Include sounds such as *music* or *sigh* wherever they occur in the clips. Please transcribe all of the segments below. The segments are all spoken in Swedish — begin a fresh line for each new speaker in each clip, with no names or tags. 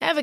Ever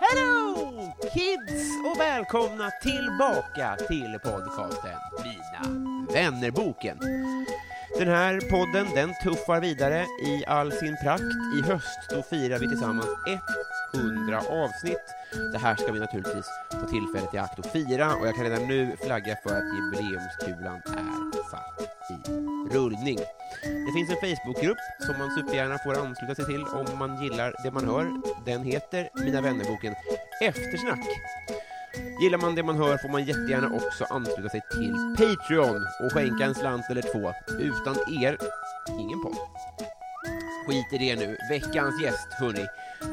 Hello kids och välkomna tillbaka till podcasten Mina vännerboken. Den här podden den tuffar vidare i all sin prakt. I höst då firar vi tillsammans 100 avsnitt. Det här ska vi naturligtvis få tillfället i akt att fira och jag kan redan nu flagga för att jubileumskulan är satt i rullning. Det finns en Facebookgrupp som man supergärna får ansluta sig till om man gillar det man hör. Den heter Mina vännerboken Eftersnack. Gillar man det man hör får man jättegärna också ansluta sig till Patreon och skänka en slant eller två. Utan er, ingen podd. Skit i det nu. Veckans gäst, hörni.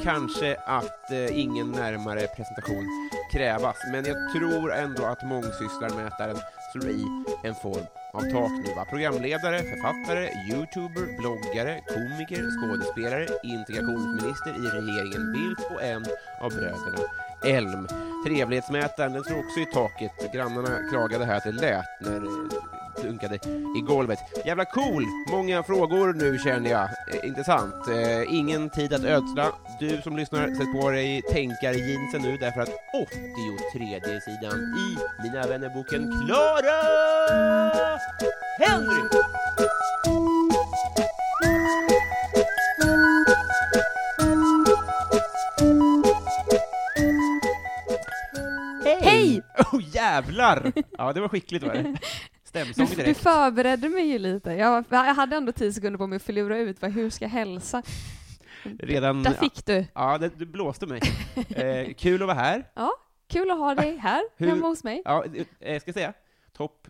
Kanske att eh, ingen närmare presentation krävas, men jag tror ändå att mångsysslarmätaren slår i en form av tak nu. Va? Programledare, författare, youtuber, bloggare, komiker, skådespelare, integrationsminister i regeringen Bildt och en av bröderna Elm. Trevlighetsmätaren, den slår också i taket. Grannarna klagade här att det lät när eh, dunkade i golvet. Jävla cool! Många frågor nu känner jag. Eh, intressant. Eh, ingen tid att ödsla. Du som lyssnar, sätt på dig tänkarjeansen nu därför att 83 sidan i Mina vännerboken Klara Henry!
Hej!
Oh jävlar! Ja, det var skickligt var det.
Du,
Stämsång
du
direkt.
förberedde mig ju lite. Jag, jag hade ändå tio sekunder på mig att förlora ut vad, hur ska jag hälsa?
Redan...
Där fick du.
Mm. Ja, det, du blåste mig. Eh, kul att vara här.
Ja, kul att ha dig här
Hur-
hemma hos mig.
Ja, eh, ska jag säga? Topp...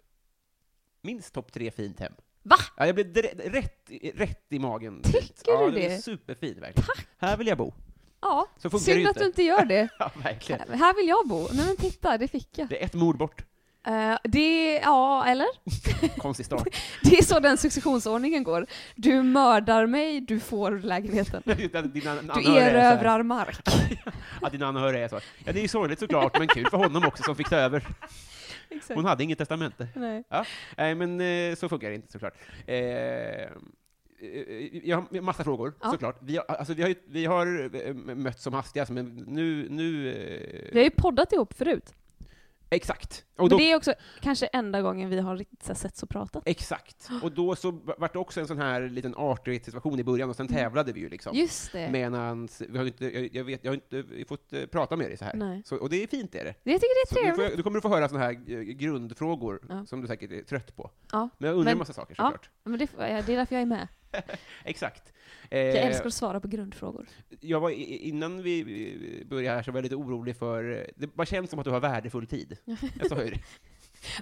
Minst topp tre fint hem.
Va?
Ja, jag blev direkt, rätt, i- rätt i magen.
Tycker
ja,
du
det?
det?
var superfint verkligen. Här vill jag bo.
Ja,
Så funkar det
synd
ju
att
inte.
du inte
*laughs*
gör det.
Ja, verkligen.
Här vill jag bo. Nej men titta, det fick jag.
Det är ett mord bort.
Eh, det, ja, eller? *laughs*
Konstig start. *laughs*
Det är så den successionsordningen går. Du mördar mig, du får lägenheten.
Dina- dina
Du
anhöriga är så här.
erövrar mark.
*laughs*
*laughs*
Ja, dina anhöriga är så. Ja, det är ju sorgligt såklart, men kul för honom också som fick ta över.
Exakt.
Hon hade inget testamente.
Nej.
Nej, men eh, så funkar det inte såklart. Eh, eh, jag har massa frågor,
Ja.
såklart. Vi har, alltså, vi har, ju- vi har eh, mötts som hastigast, men nu... nu eh,
Vi har ju poddat ihop förut.
Exakt. Och
Men
då,
det är också kanske enda gången vi har riktigt så här sett och pratat.
Exakt. Och då så var det också en sån här liten artighetssituation i början, och sen
Mm.
tävlade vi ju liksom.
Just det.
Medans, vi har ju inte, jag, jag, vet, jag har inte fått eh, prata med dig så här.
Nej.
Så, och det är fint, är det.
Jag tycker
Så
det är
nu, får
trevligt.
jag, nu kommer du få höra såna här eh, grundfrågor,
Ja.
som du säkert är trött på.
Ja.
Men jag undrar en
Men-
massa saker
ja.
såklart.
Men det, får jag- det är därför jag är med.
Exakt.
Jag
Eh,
älskar att svara på grundfrågor.
jag var, i- i- innan vi eh, började här så var jag lite orolig för, eh, det bara känns som att du har värdefull tid.
*laughs*
Jag sa ju det.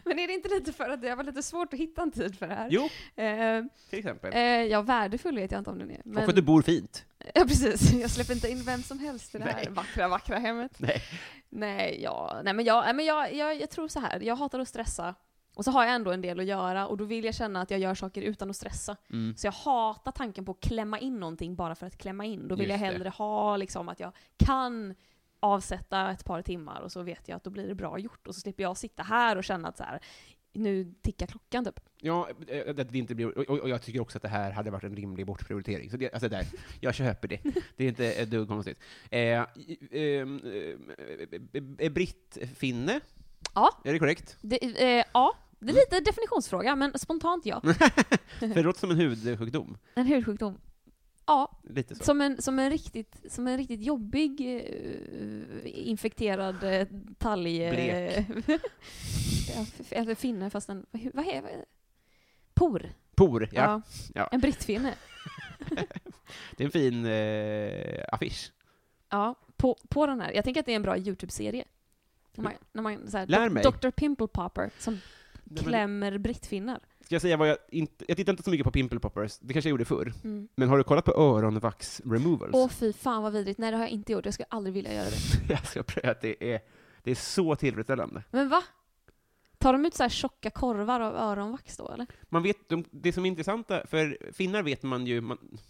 Men är det inte lite för att det har varit lite svårt att hitta en tid för det här?
Jo,
Eh,
till exempel.
eh, ja, värdefull vet jag inte om den är. Men,
Och för att du bor fint.
*laughs* Ja, precis. Jag släpper inte in vem som helst i det här
Nej.
vackra, vackra hemmet.
Nej.
Nej, ja. Nej men, jag, nej, men jag, jag, jag tror så här. jag hatar att stressa. Och så har jag ändå en del att göra, och då vill jag känna att jag gör saker utan att stressa.
Mm.
Så jag hatar tanken på att klämma in någonting bara för att klämma in. Då vill
Just
jag
det.
hellre ha liksom, att jag kan avsätta ett par timmar och så vet jag att då blir det bra gjort. Och så slipper jag sitta här och känna att så här, nu tickar klockan typ.
Ja, eh, att det inte blir, och- och, och jag tycker också att det här hade varit en rimlig bortprioritering. Så det, alltså där, jag köper det. Det är inte ett dugg konstigt. Eh, i- ehm, eh, eh, eh, Britt Finne,
Ja.
är det korrekt?
Det, eh, ja, Det är lite definitionsfråga, men
*laughs*
spontant ja.
För det låter som en hudsjukdom.
En hudsjukdom. Ja,
Lite så.
som en, som en, riktigt, som en riktigt jobbig eh, infekterad eh, talg...
Blek.
*laughs* ja, f- eller finne, fast en... Vad, he- vad är det? Por.
Por, ja. ja.
En brittfinne.
Det är en fin eh, affisch.
Ja, på, på den här. Jag tänker att det är en bra YouTube-serie. När man, när man, så här,
Lär
dok-
mig.
Dr. Pimple Popper som
Nej, men-
klämmer brittfinnar.
Ska jag säga vad jag inte... Jag tittar inte så mycket på Pimple Poppers, det kanske jag gjorde förr.
Mm.
Men har du kollat på öronvax removals?
Åh fy fan vad vidrigt. Nej det har jag inte gjort. Jag skulle aldrig vilja göra det.
alltså, *laughs* jag tror att det är, det är så tillfredsställande.
Men va? Tar de ut så här tjocka korvar av öronvax då eller?
Man vet, de, det som är intressanta, för finnar vet man ju... Man, jag vet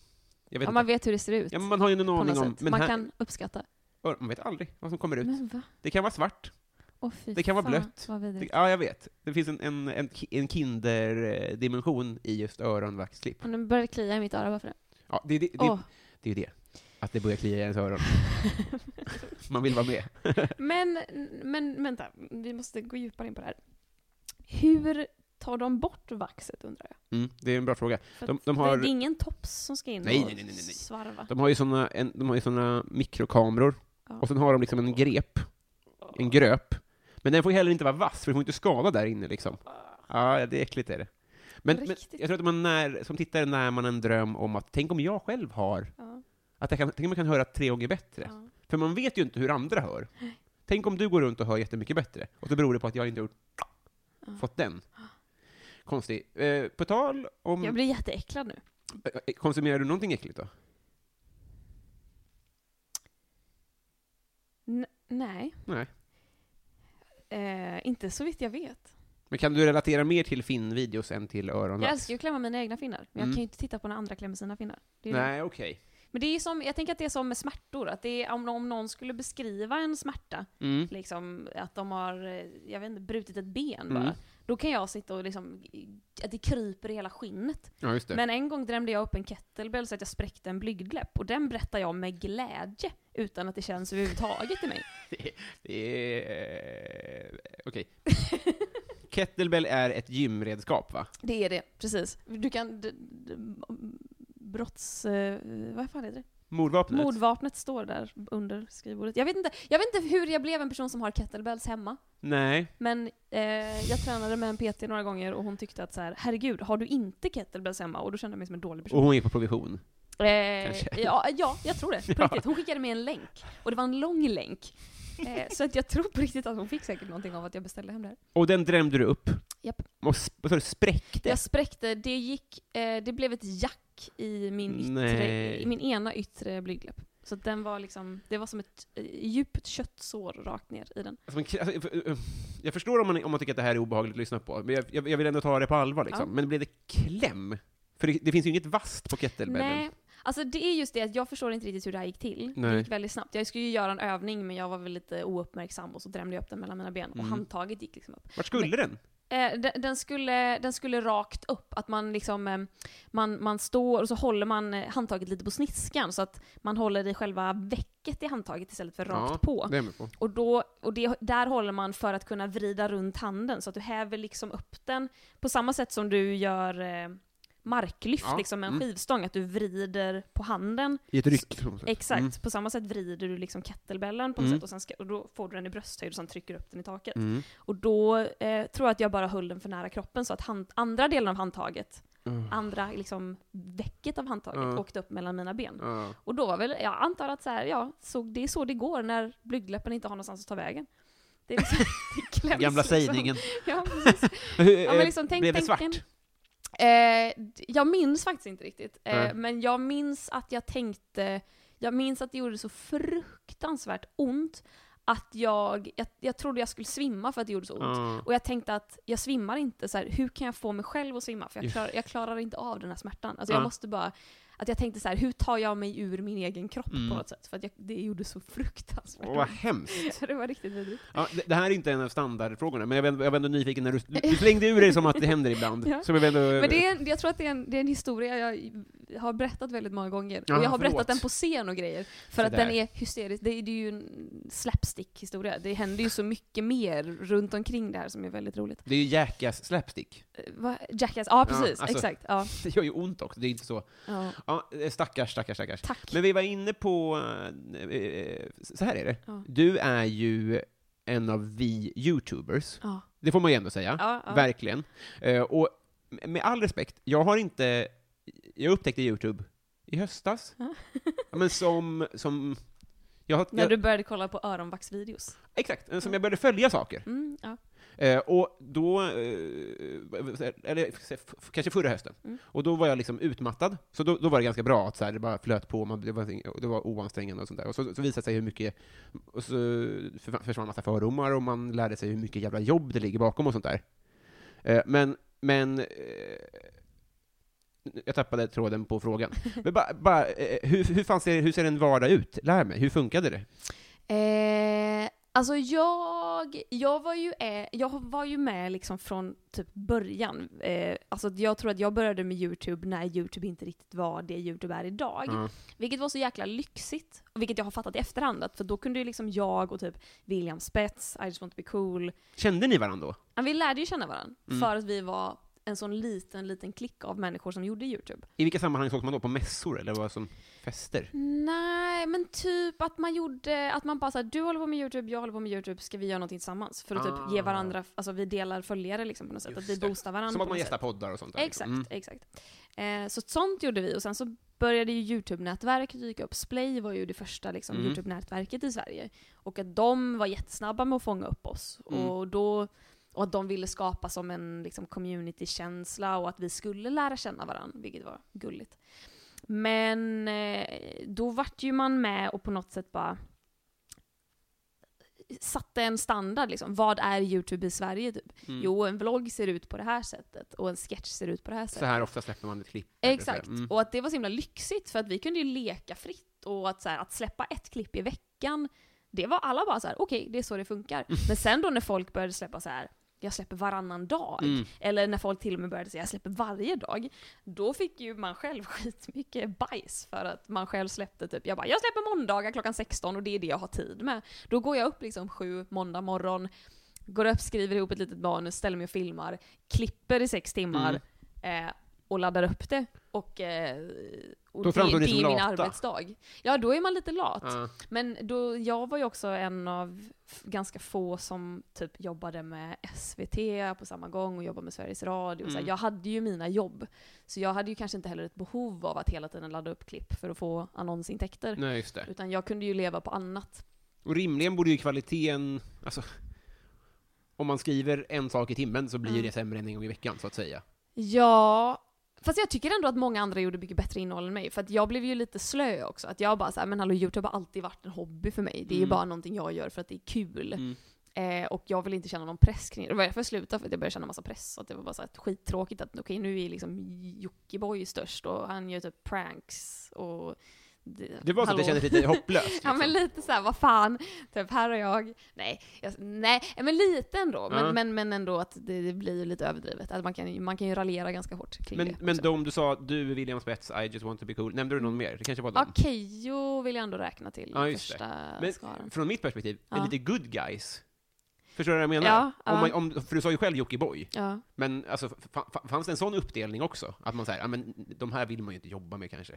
Ja,
inte.
man vet hur det ser ut.
ja, men man har ju en
på något
aning om...
sätt.
Men
man
här,
kan uppskatta.
ör- man vet aldrig vad som kommer ut.
Men va?
Det kan vara svart.
Åh fy
Det kan vara
fan,
blött.
Vad
Det,
vidrigt.
ja, jag vet. Det finns en, en, en, ki- en kinderdimension i just öronvaxklipp.
Och nu börjar det klia i mitt öra, varför det?
Ja, det, det, det,
Åh.
det är ju det. Att det börjar klia i ens
*laughs*
öron. Man vill vara med.
Men, men vänta, vi måste gå djupare in på det här. Hur tar de bort vaxet undrar jag?
Mm, det är en bra fråga.
För
De-
att
de har-
Det är ingen tops som ska in
Nej,
och
nej, nej, nej, nej.
svarva.
De har ju såna, en, de har ju såna mikrokameror,
Ja.
och sen har de liksom en grep, en gröp. Men den får ju heller inte vara vass, för den får inte skada där inne liksom. Ja, det är äckligt är det. Men, men
Riktigt.
jag tror att man när, som tittare när man en dröm om att, tänk om jag själv har,
Ja,
att jag kan, tänk om jag kan höra tre gånger bättre.
ja.
För man vet ju inte hur andra hör. Tänk om du går runt och hör jättemycket bättre, och så beror det på att jag inte har gjort, fått den. Konstigt. Eh, på tal om...
Jag blir jätteäcklad nu.
Eh, Konsumerar du någonting äckligt då?
N- nej,
Nej.
eh, inte så vitt jag vet.
Men kan du relatera mer till finvideos än till öronvax?
Jag älskar ju att klämma mina egna finnar, men
Mm.
jag kan ju inte titta på när andra klämmer sina finnar. Det är ju
Nej, okej.
Men det är som, jag tänker att det är som med smärtor, att det är, om, om någon skulle beskriva en smärta,
Mm.
liksom att de har, eh, jag vet inte, brutit ett ben bara.
Mm.
Då kan jag sitta och liksom, att det kryper i hela skinnet.
Ja, just det.
Men en gång drämde jag upp en kettlebell så att jag spräckte en blygdläpp, och den berättar jag med glädje, utan att det känns överhuvudtaget i mig.
Det är... eh, Okej. *laughs* Kettlebell är ett gymredskap, va?
Det är det, precis. Du kan, d, d, brotts, eh, vad fan heter det?
Mordvapnet?
Mordvapnet står där under skrivbordet. Jag vet inte, jag vet inte hur jag blev en person som har kettlebells hemma.
Nej.
Men eh, jag tränade med en PT några gånger och hon tyckte att så här, herregud, har du inte kettlebells hemma? Och då kände jag mig som en dålig
Och
person.
hon är på provision.
eh,
Oh, kanske.
ja, ja, jag tror det. På
*laughs* Ja.
riktigt. Hon skickade med en länk. Och det var en lång länk. Eh, så att jag tror på riktigt att hon fick säkert någonting av att jag beställde hem det här.
Och den drämde du upp?
Japp.
Och sp- vad sa du, spräckte?
Jag spräckte, det gick, eh, det blev ett jack i min, yttre,
Nej.
i min ena yttre blygdläpp. Så att den var liksom, det var som ett eh, djupt köttsår rakt ner i den.
Alltså, man k- alltså, för- eh, jag förstår om man, om man tycker att det här är obehagligt att lyssna på, men jag, jag, jag vill ändå ta det på allvar liksom.
Ja.
Men blev det kläm? För det, det finns ju inget vasst på kettlebellen.
Nej, alltså det är just det att jag förstår inte riktigt hur det här gick till.
Nej.
Det gick väldigt snabbt. Jag skulle ju göra en övning men jag var väl lite ouppmärksam och så drämde jag upp den mellan mina ben och
Mm.
handtaget gick liksom upp.
Vart skulle den?
Eh, den, den, skulle, den skulle rakt upp, att man liksom eh, man, man står och så håller man eh, handtaget lite på sniskan så att man håller i själva vecket i handtaget istället för rakt
Ja,
på.
Det är jag med på.
Och, då, och det, där håller man för att kunna vrida runt handen, så att du häver liksom upp den på samma sätt som du gör eh, marklyft
Ja,
liksom med en
mm.
skivstång, att du vrider på handen.
I ett ryck. på något sätt.
Exakt,
Mm.
på samma sätt vrider du liksom kettlebellen på något
Mm.
sätt och, sen ska, och då får du den i brösthöjd och sen trycker du upp den i taket.
Mm.
Och då eh, tror jag att jag bara höll den för nära kroppen så att hand, andra delen av handtaget,
Mm.
andra liksom vecket av handtaget
Ja.
åkte upp mellan mina ben.
Ja.
Och då var väl, jag antar att så här, ja, så det är så det går när blygdläppen inte har någonstans att ta vägen. Det är liksom, *laughs* det kläms
Gamla
liksom.
sägningen.
Ja, precis. Ja, men liksom, tänk,
Eh, Blev det
tänk
svart?
en- Eh, d- jag minns faktiskt inte riktigt.
Nej.
Eh, men jag minns att jag tänkte, jag minns att det gjorde så fruktansvärt ont att jag, jag, jag trodde jag skulle svimma för att det gjorde så ont.
Ja.
Och jag tänkte att jag svimmar inte, så här, hur kan jag få mig själv att svimma? För jag,
Just.
klar, jag klarar inte av den här smärtan. Alltså
Ja.
jag måste bara, att jag tänkte så här, hur tar jag mig ur min egen kropp
Mm.
på något sätt? För att jag, det gjorde så fruktansvärt
Åh, vad hemskt.
ont. *laughs* Så det var riktigt vidrigt.
Ja, det- det här är inte en av standardfrågorna, men jag var, jag var ändå nyfiken när du, du, du slängde ur dig som att det händer ibland.
*laughs* Ja.
Som jag, ändå,
Men det är, en- jag tror att det är en, det är en historia jag har berättat väldigt många gånger.
Ja,
och jag har
förlåt.
berättat den på scen och grejer. För att
Sådär.
den är hysterisk. Det är, det är ju en slapstick-historia. Det händer ju så mycket mer runt omkring det här som är väldigt roligt.
Det är ju Jackass slapstick. *laughs*
Eh, vad- Jackass, ja precis.
alltså-
Exakt. Ja.
Det gör ju ont också, det är inte så.
Ja.
Ja, eh, stackars, stackars, stackars.
Tack.
Men vi var inne på, eh, eh, så här är det.
Ja.
Du är ju en av vi YouTubers.
Ja.
Det får man ju ändå säga.
Ja, ja.
Verkligen. Eh, och med all respekt, jag har inte, jag upptäckte YouTube i höstas.
Ja.
Ja, Men som, som, jag, har-
När
jag,
du började kolla på öronvaxvideos.
exakt, eh, som jag började följa saker.
Mm, ja.
Eh, och då, eh, eller f- f- kanske förra hösten,
Mm.
och då var jag liksom utmattad. Så då, då var det ganska bra att så här, det bara flöt på, man, det, var, ing- och det var oansträngande och sånt där. Och så, så visade det sig hur mycket, och så för- försvann en massa fördomar och man lärde sig hur mycket jävla jobb det ligger bakom och sånt där. Eh, men, men, eh, jag tappade tråden på frågan. Men bara, bara eh, hur, hur, fan ser, hur ser en vardag ut? Lär mig, hur funkade det?
Eh, alltså jag, jag, var ju, eh, jag var ju med liksom från typ början. Eh, alltså jag tror att jag började med YouTube när YouTube inte riktigt var det YouTube är idag.
Ja.
Vilket var så jäkla lyxigt, och vilket jag har fattat i efterhand. Att för då kunde ju liksom jag och typ William Spets, I just want to be cool.
Kände ni varandra då?
Ja, Vi lärde ju känna varandra
Mm.
för att vi var en sån liten, liten klick av människor som gjorde YouTube.
I vilka sammanhang sågs man då? På mässor eller vad som fester?
Nej, men typ att man gjorde, att man bara såhär, du håller på med YouTube, jag håller på med YouTube, ska vi göra någonting tillsammans? För att
Ah.
typ ge varandra, alltså vi delar följare liksom på något sätt,
Just
att vi
det.
boostar varandra.
Som att
på
man
något
gästar
sätt.
poddar och sånt där.
Exakt,
Liksom.
exakt. Eh, så sånt gjorde vi och sen så började ju YouTube-nätverk dyka upp. Splay var ju det första liksom,
Mm.
YouTube-nätverket i Sverige. Och att de var jättesnabba med att fånga upp oss.
Mm.
Och, då, och att de ville skapa som en liksom, community-känsla och att vi skulle lära känna varandra, vilket var gulligt. Men eh, då vart ju man med och på något sätt bara satte en standard liksom. Vad är YouTube i Sverige typ?
Mm.
Jo, en vlogg ser ut på det här sättet och en sketch ser ut på det här sättet.
Så här ofta släpper man ett klipp. eller så här.
Exakt.
Mm.
Och att det var så himla lyxigt för att vi kunde ju leka fritt och att, så här, att släppa ett klipp i veckan, det var alla bara så här: okej, det är så
*laughs*
det funkar. Men sen då när folk började släppa så här. jag släpper varannan dag,
Mm.
eller när folk till och med började säga jag släpper varje dag, då fick ju man själv *laughs* skitmycket bajs för att man själv släppte typ, jag bara jag släpper måndagar klockan 16 och det är det jag har tid med. Då går jag upp liksom sju måndag morgon, går upp, skriver ihop ett litet manus, ställer mig och filmar, klipper i sex timmar
Mm.
eh, och laddar upp det. Och, eh, och
Då framstår ni
det, det
som
är min
lata.
arbetsdag. Ja, då är man lite lat.
Ja.
Men då, jag var ju också en av f- ganska få som typ jobbade med SVT på samma gång och jobbade med Sveriges Radio. Så
Mm.
här, jag hade ju mina jobb. Så jag hade ju kanske inte heller ett behov av att hela tiden ladda upp klipp för att få annonsintäkter.
Nej, just det.
Utan jag kunde ju leva på annat.
Och rimligen borde ju kvaliteten, alltså, om man skriver en sak i timmen så blir
Mm.
det sämre än en gång i veckan, så att säga.
Ja, fast jag tycker ändå att många andra gjorde mycket bättre innehåll än mig. För att jag blev ju lite slö också. Att jag bara såhär, men hallå YouTube har alltid varit en hobby för mig. Det är ju
Mm.
bara någonting jag gör för att det är kul.
Mm.
Eh, och jag vill inte känna någon press kring det. Det var därför jag slutade, för att jag började känna massa press. Så att det var bara så här skittråkigt att okej, nu är liksom Jockiboi störst och han gör typ pranks och...
Det var så att det
hallå.
kändes *laughs* lite hopplöst. Liksom.
Ja men lite såhär, vad fan, typ här har jag, nej, jag, nej, men lite ändå, men,
Ja.
men, men ändå att det, det blir ju lite överdrivet. Att man, kan, ju- man kan ju raljera ganska hårt kring
men,
det.
men
också.
de du sa, du, William Spets, I just want to be cool, nämnde du någon mer? Det kanske var
Ja,
dem?
Keyyo vill jag ändå räkna till
Ja,
i
just det.
första
Men
skaran.
från mitt perspektiv,
Ja.
är lite good guys. Förstår du vad jag menar?
Ja, ja.
Om man, om, för du sa ju själv Jockiboi,
Ja.
men alltså, fa- fa- fanns det en sån uppdelning också? Att man säger, ja men de här vill man ju inte jobba med kanske.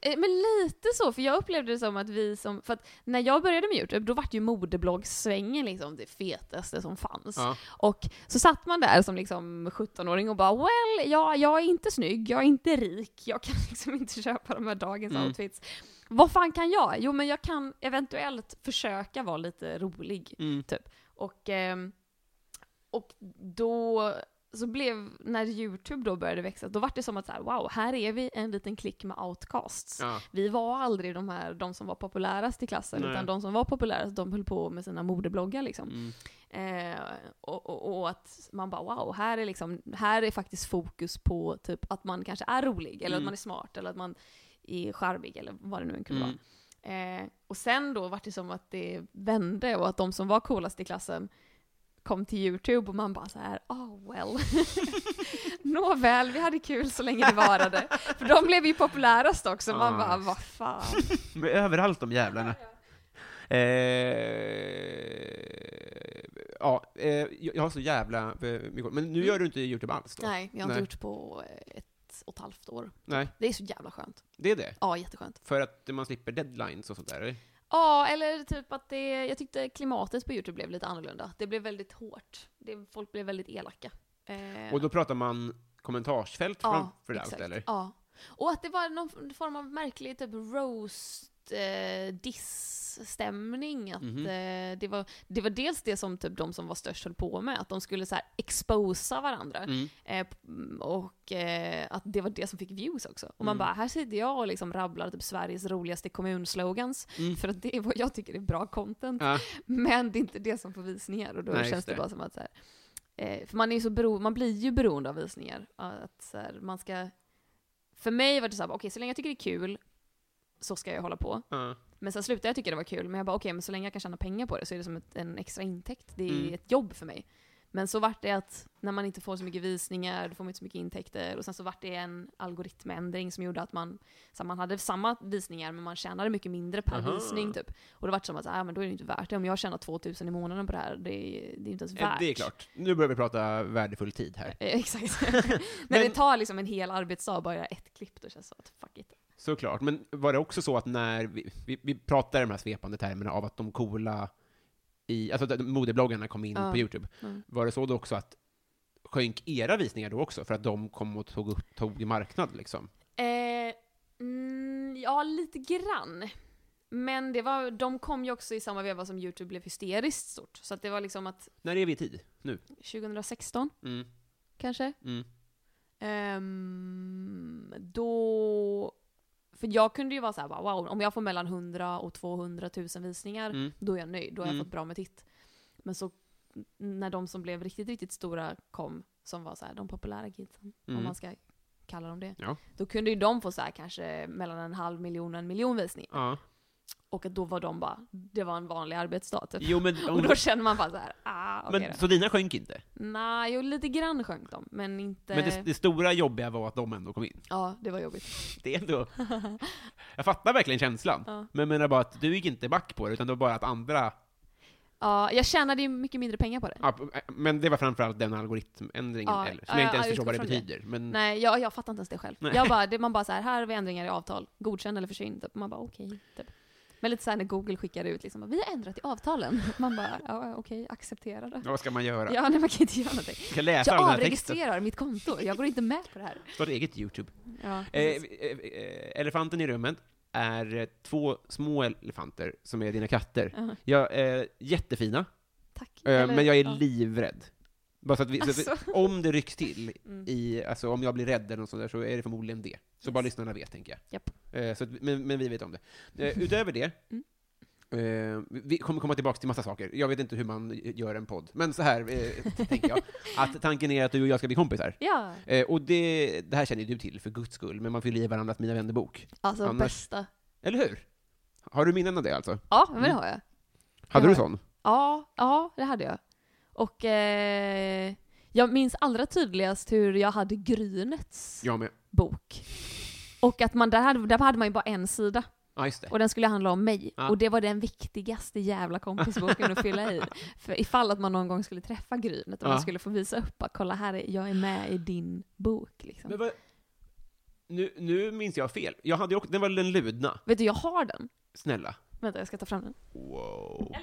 Eh, Men lite så, för jag upplevde det som att vi som, för att när jag började med YouTube, då vart ju modebloggssvängen liksom det fetaste som fanns.
Ja.
Och så satt man där som liksom 17-åring och bara well, ja, jag är inte snygg, jag är inte rik, jag kan *laughs* liksom inte köpa de här dagens
Mm.
outfits. Vad fan kan jag? Jo men jag kan eventuellt försöka vara lite rolig.
Mm.
Typ. Och, ehm, och då så blev, när YouTube då började växa, då var det som att så här, wow, här är vi en liten klick med outcasts.
Ja.
Vi var aldrig de här, de som var populärast i klassen,
Nej.
utan de som var populärast, de höll på med sina modebloggar liksom.
Mm.
Eh, och, och, och att man bara wow, här är, liksom, här är faktiskt fokus på typ att man kanske är rolig, eller
Mm.
att man är smart, eller att man är charmig, eller vad det nu än kunde
Mm.
vara. Eh, och sen då var det som att det vände, och att de som var coolast i klassen kom till YouTube och man bara så här, oh well. *laughs* Nåväl, vi hade kul så länge det varade. För de blev ju populärast också, man
Ah,
bara,
visst.
vad fan.
Men Överallt de jävlarna. Eh, ja, eh, jag jag har så jävla eh, mycket Men nu gör du inte YouTube alls då?
*laughs* Mm. Nej, jag har
Nej.
inte gjort på eh, ett och ett halvt år.
Nej,
Det är så jävla skönt.
det är det.
Ja, jätteskönt.
För att man slipper deadlines och sånt där? eller?
Ja, eller typ att det, jag tyckte klimatet på YouTube blev lite annorlunda. Det blev väldigt hårt. Det, folk blev väldigt elaka. Eh,
Och då pratar man kommentarsfält
ja,
framför allt,
exakt.
eller?
Ja. Och att det var någon form av märklig typ roast, eh, diss-stämning. Att,
Mhm.
eh, det, var, det var dels det som typ de som var störst höll på med, att de skulle så här exposa varandra.
Mm.
Eh, p- och eh, att det var det som fick views också. Och man
Mm.
bara, här sitter jag och liksom rabblar typ Sveriges roligaste kommunslogans,
Mm.
för att det är vad jag tycker är bra content.
Ja.
Men det är inte det som får visningar och då
Nej,
känns
just
det.
det.
bara som att så här, eh, för man, är ju så bero, man blir ju beroende av visningar. Att så här, man ska, för mig var det så här, okej så länge jag tycker det är kul så ska jag hålla på.
Ja.
Men sen slutade jag tycka det var kul, men jag bara okej, men så länge jag kan tjäna pengar på det så är det som ett, en extra intäkt. Det är
Mm.
ett jobb för mig. Men så vart det att när man inte får så mycket visningar, då får man inte så mycket intäkter. Och sen så vart det en algoritmändring som gjorde att man, så här, man hade samma visningar men man tjänade mycket mindre per
Aha.
visning typ. Och då vart det som att, ah, men då är det inte värt det. Om jag tjänar 2000 i månaden på det här, det är, det är inte ens
Eh,
värt.
Det är klart. Nu börjar vi prata värdefull tid här.
Eh,
*laughs*
*laughs* Exakt. men, det tar liksom en hel arbetsdag att bara göra ett klipp, då känns det så att fuck it.
Såklart, men var det också så att när vi, vi, vi pratade de här svepande termerna av att de coola i, alltså att modebloggarna kom in
Ja.
på YouTube,
Mm.
var det så då också att sjönk era visningar då också för att de kom och tog, upp- tog i marknad liksom?
Eh, mm, ja, lite grann. Men det var, de kom ju också i samma veva som YouTube blev hysteriskt stort. Så att det var liksom att
När är vi i tid? Nu?
2016
Mm,
kanske.
mm,
Ehm, då... För jag kunde ju vara såhär, bara, wow, om jag får mellan 100 och 200 000 visningar,
mm.
då är jag nöjd. Då har
Mm.
jag fått bra med titt. Men så när de som blev riktigt, riktigt stora kom, som var så här, de populära kidsen,
Mm.
om man ska kalla dem det.
Ja.
Då kunde ju de få så här, kanske mellan en halv miljon och en miljon visningar.
Ja.
Och att då var de bara, det var en vanlig arbetsdag typ.
Jo men,
*laughs* Och då känner man bara så här, ah okej
men
då.
så dina sjönk inte?
Nej, jo lite grann sjönk de, men inte...
Men det, det stora jobbiga var att de ändå kom in. *laughs*
Ja, det var jobbigt.
Det är ändå...
*laughs*
Jag fattar verkligen känslan,
Ja.
men jag menar bara att du gick inte back på det, utan det var bara att andra
Ja, jag tjänade ju mycket mindre pengar på det.
Ja, p- eh, men det var framförallt den algoritmändringen,
Ja,
eller, som jag
ja,
inte ens
ja,
förstår vad det
utgår från
betyder. Men,
Nej, jag, jag fattar inte ens det själv.
Nej.
Jag bara, det, man bara så här, här har vi ändringar i avtal, godkänn eller försvinn. Typ. Man bara okej. typ. Men lite så här när Google skickar ut liksom, vi har ändrat i avtalen. *laughs* Man bara, ja okej, acceptera det.
ja, vad ska man göra?
Ja, nej, man kan inte göra någonting.
Jag ska läsa
Jag
den här texten.
avregistrerar mitt konto, jag går inte med på det här.
Starta eget YouTube.
Ja,
Eh,
precis.
eh, eh, elefanten i rummet är eh, två små elefanter som är dina katter.
Ja,
Jag är jättefina,
tack.
eh,
Eller-
men jag är
ja.
livrädd. Bara så att vi, så att vi,
Alltså.
om det rycks till,
Mm.
i, alltså om jag blir rädd eller något sånt där, så är det förmodligen det. Så bara
Yes.
lyssnarna vet, tänker jag.
Japp.
Eh, så att, men, men vi vet om det. Eh, utöver det,
Mm.
eh, vi kommer komma tillbaka till massa saker. Jag vet inte hur man gör en podd, men så här eh, tänker jag. Att tanken är att du och jag ska bli kompisar.
Ja,
Eh, och det, det här känner ju du till, för guds skull, men man fyller i varandras Mina vännerbok.
alltså
Annars-
bästa.
Eller hur? Har du minnen av det alltså?
Ja, men det
Mm.
har jag.
Hade
Ja.
du sån?
Ja, ja, det hade jag. Och eh, jag minns allra tydligast hur jag hade Grynets
Jag med.
bok. Och att man, där, hade, där hade man ju bara en sida.
Ja, just det.
Och den skulle handla om mig.
Ja.
Och det var den viktigaste jävla kompisboken att
*laughs*
fylla i. För ifall att man någon gång skulle träffa Grynet och
Ja.
man skulle få visa upp att kolla här, är- jag är med i din bok. Liksom.
Men vad, nu, nu minns jag fel. Jag hade ju också, den var den ludna.
Vet du, jag har den.
Snälla.
Vänta, jag ska ta fram den.
Wow.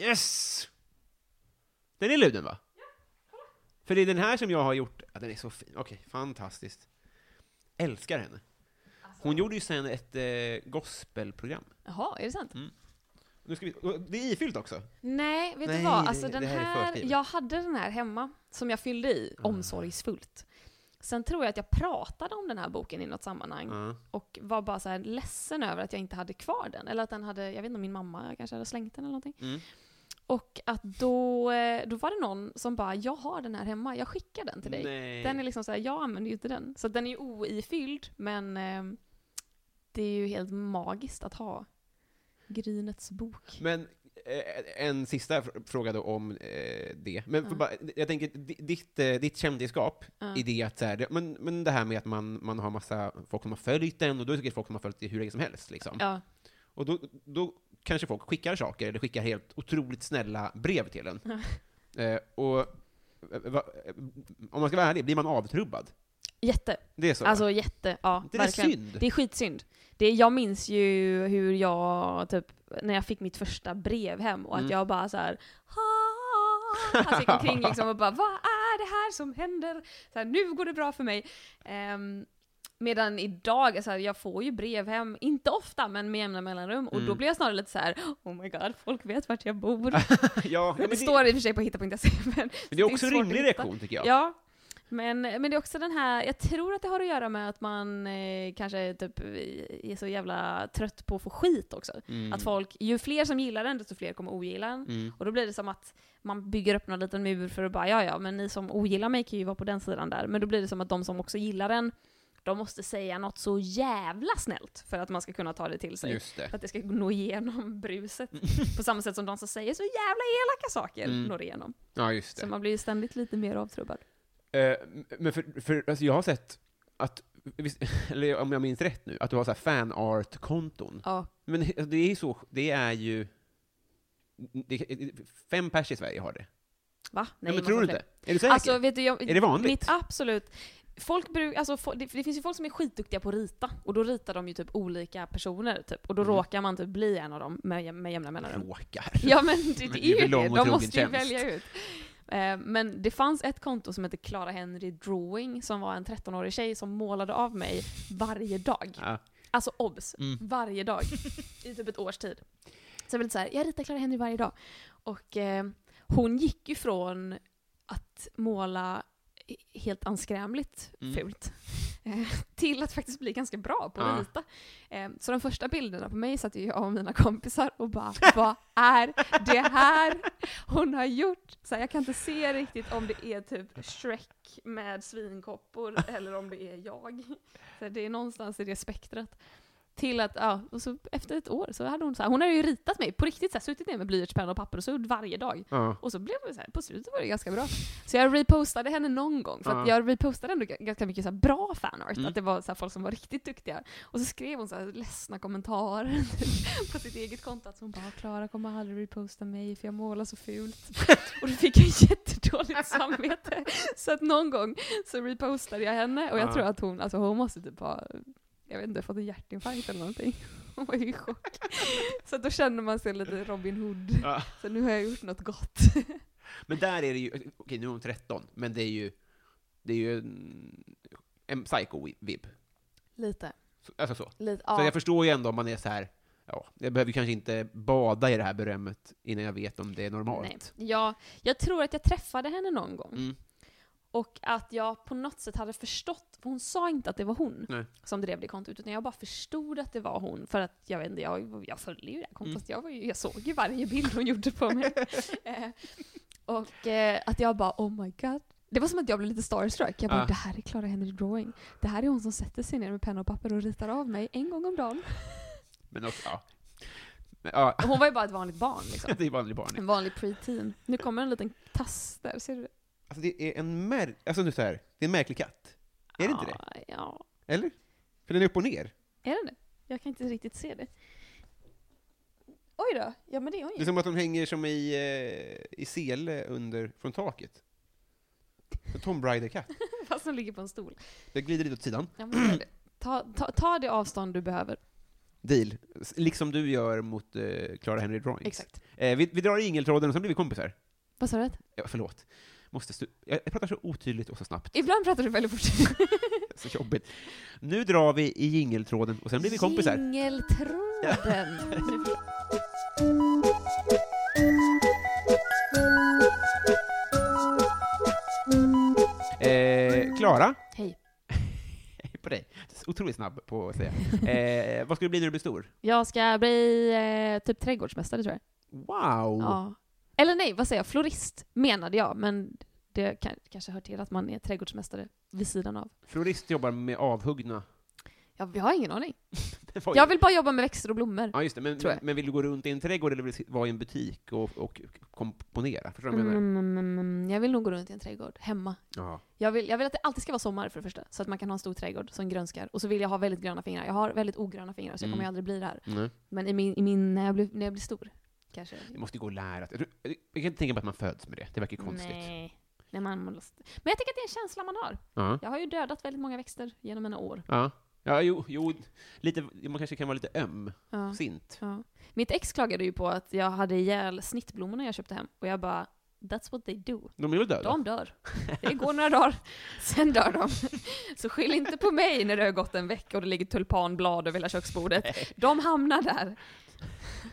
Yes! Den är luden va? Ja, För det är den här som jag har gjort, ja, den är så fin, okej, fantastiskt. Älskar henne. Hon gjorde ju sen ett eh, gospelprogram.
Jaha, är det sant?
Nu ska vi, och det är ifyllt också.
Nej, vet
Nej,
du vad?
det-
Alltså, den
det här är Ah.
här,
förskrivet.
jag hade den här hemma, som jag fyllde i omsorgsfullt. Sen tror jag att jag pratade om den här boken i något sammanhang.
Ja.
och var bara så här ledsen över att jag inte hade kvar den. Eller att den hade, jag vet inte om min mamma kanske hade slängt den eller någonting.
Mm.
Och att då, eh, då var det någon som bara, jag har den här hemma, jag skickar den till dig.
Nej.
Den är liksom såhär, jag använder ju inte den. Så den är ju oifylld, men eh, det är ju helt magiskt att ha Grynets bok.
Men eh, en sista fr- fråga då om eh, det. Men
Ja.
för bara, jag tänker, di- ditt, eh, ditt kändisskap
Ja.
i det att så här, det- men, men det här med att man, man har massa folk som har följt den och då är det säkert folk som har följt det hur länge som helst. Liksom.
Ja,
Och då, då kanske folk skickar saker, eller skickar helt otroligt snälla brev till en. Eh, och eh, va, eh, om man ska vara ärlig, blir man avtrubbad?
jätte.
Det är så?
Alltså jätte, ja
det är
verkligen.
synd.
Det är skitsynd. Det, jag minns ju hur jag, typ, när jag fick mitt första brev hem och
Mm.
att jag bara så här. "Ah." Alltså gick omkring liksom och bara vad är det här som händer? Så här, nu går det bra för mig. Ehm, medan idag, alltså, jag får ju brev hem, inte ofta men med jämna mellanrum och då blir jag snarare lite så här: oh my god, folk vet vart jag bor.
Mm. *laughs* ja, men det,
det står i och för sig på hitta.se E, men
men det är
svårt
också
att
en rimlig
hitta.
reaktion, tycker jag.
Ja. Men, men det är också den här, jag tror att det har att göra med att man eh, kanske typ är så jävla trött på att få skit också.
Mm.
Att folk, ju fler som gillar den, desto fler kommer ogilla den. Och då blir det som att man bygger upp någon liten mur för att bara, ja ja, men ni som ogillar mig kan ju vara på den sidan där. Men då blir det som att de som också gillar den, de måste säga något så jävla snällt för att man ska kunna ta det till sig.
Just det.
För att det ska nå
*laughs*
igenom *laughs* bruset. på samma sätt som de som säger så jävla elaka saker når igenom.
Ja, just Mm. det.
Så man blir ju ständigt lite mer avtrubbad.
Eh, men för, för alltså jag har sett att, visst, *laughs* eller om jag minns rätt nu, att du har så här fanart-konton.
Ja.
Men he- alltså det är ju så, det är ju... Det, fem pers i Sverige har det.
Va?
Nej, men
man
tror du inte?
får inte
Är du
det.
säker?
Alltså vet du, jag,
Är det vanligt?
Mitt absolut. Folk bruk, alltså, fo- det, det finns ju folk som är skitduktiga på att rita, och då ritar de ju typ olika personer typ, och då
Mm.
råkar man typ bli en av dem med, jäm- med jämna mellanrum.
Råkar.
*laughs* Ja men det,
Mm. Men
det
det är
är ju
väl lång
det,
och
de
trogen
måste ju
tjänst.
välja ut. Eh, Men det fanns ett konto som hette Clara Henry Drawing som var en 13-årig tjej som målade av mig varje dag.
Ja.
Alltså obs!
Mm. *laughs*
Varje dag. I typ ett års tid. Så jag blev lite såhär, jag ritar Clara Henry varje dag. Och eh, hon gick ju från att måla he- helt anskrämligt
Mm.
fult eh, till att faktiskt bli ganska bra på att
Ja.
rita. Eh, Så de första bilderna på mig satt ju jag och mina kompisar
*laughs*
och bara Vad är det här hon har gjort? Så här, jag kan inte se riktigt om det är typ Shrek med svinkoppor eller om det är jag. Så här, det är någonstans i det spektrat. Till att, ja, och så efter ett år så hade hon så här, hon hade ju ritat mig på riktigt, så här, suttit ner med blyertspenna och papper och sudd varje dag.
Ja.
Och så blev det så här, på slutet var det ganska bra. Så jag repostade henne någon gång, för att
Ja. Mm.
jag repostade ändå g- ganska mycket så här bra fanart, att det var så här folk som var riktigt duktiga. Och så skrev hon så här ledsna kommentarer *laughs* på sitt eget konto, att hon bara “Klara kommer aldrig reposta mig för jag målar
*laughs*
så fult”. och då fick jag jättedåligt samvete. Så att någon gång så repostade jag henne, och jag
Ja.
tror att hon, alltså hon måste typ ha, jag vet inte, fått en hjärtinfarkt eller någonting. Hon var ju i chock. Så att då känner man sig lite Robin Hood.
Ja.
Så nu har jag gjort något gott.
Men där är det ju, okej nu är hon 13, men det är ju, det är ju en, en psycho-vibb.
Lite.
Så- Alltså så.
lite
Så
ja.
jag förstår ju ändå om man är så här. ja, jag behöver ju kanske inte bada i det här berömmet innan jag vet om det är normalt.
Nej. Ja, jag tror att jag träffade henne någon gång.
Mm.
Och att jag på något sätt hade förstått, för hon sa inte att det var hon
Nej.
som drev det kontot, utan jag bara förstod att det var hon. För att jag vet inte, jag, jag följde ju det här
Mm.
kontot, jag, var ju, jag såg ju varje bild hon gjorde på
*laughs*
mig. eh, och eh, att jag bara oh my god. Det var som att jag blev lite starstruck. Jag bara,
Ah.
det här är Clara Henry Drawing. Det här är hon som sätter sig ner med penna och papper och ritar av mig en gång
*laughs*
om dagen.
Men också, ja. Men, ja. *laughs*
Och Hon var ju bara ett vanligt barn liksom.
Det är vanlig barn.
En vanlig preteen. Nu kommer en liten tass där, ser du det?
Alltså det är en mär... Alltså nu så här, det är en märklig katt. Är det inte det?
Ja, Ja.
Eller? För den är upp och ner.
Är den det? Jag kan inte riktigt se det. Oj då, ja men det är hon
Det är
ju.
som att de hänger som i, eh, i sele under, från taket. En Tom Brider-katt.
Fast hon ligger på en stol.
Det glider lite åt sidan.
Ja, men gör det. Ta, ta, ta det avstånd du behöver.
Deal. S- Liksom du gör mot eh, Clara Henry Drawings.
Exakt.
Eh, vi, vi drar i ingeltråden och sen blir vi kompisar.
Vad sa du?
Ja, förlåt. Måste stu- jag, jag pratar så otydligt och så snabbt.
Ibland pratar du väldigt fort.
Så jobbigt. Nu drar vi i jingeltråden och sen blir vi kompisar.
Jingeltråden.
*laughs* Eh, Klara?
Hej.
*laughs* Hej på dig. Otroligt snabb på att säga. Eh, vad ska du bli när du blir stor?
Jag ska bli eh, typ trädgårdsmästare tror jag.
Wow!
Ja. Eller nej, vad säger jag? Florist menade jag, men det kan, kanske hör till att man är trädgårdsmästare vid sidan av.
Florist jobbar med avhuggna.
Jag, jag har ingen aning.
Det var ju-
Jag vill bara jobba med växter och blommor.
Ja, just det. Men,
tror jag.
men vill du gå runt i en trädgård eller vill du vara i en butik och, och komponera? Förstår du vad jag menar?
Mm, jag vill nog gå runt i en trädgård, hemma.
Ja.
Jag vill, jag vill att det alltid ska vara sommar för det första, så att man kan ha en stor trädgård som grönskar. Och så vill jag ha väldigt gröna fingrar. Jag har väldigt ogröna fingrar, så jag kommer
Mm.
ju aldrig bli det här.
Nej.
Men i min, i min, när, jag blir, när jag blir stor, kanske.
Det måste ju gå att lära sig. Jag kan inte tänka mig att man föds med det. Det verkar konstigt.
Nej. Nej, man måste. Men jag tänker att det är en känsla man har.
Ja.
Jag har ju dödat väldigt många växter genom mina år.
Ja. Ja, jo, jo, lite, man kanske kan vara lite ömsint.
Ja. Ja. Mitt ex klagade ju på att jag hade ihjäl snittblommorna jag köpte hem. Och jag bara, that's what they do.
De är väl döda?
De dör. Det går några dagar, sen dör de. Så skyll inte på mig när det har gått en vecka och det ligger tulpanblad över hela köksbordet. De hamnar där.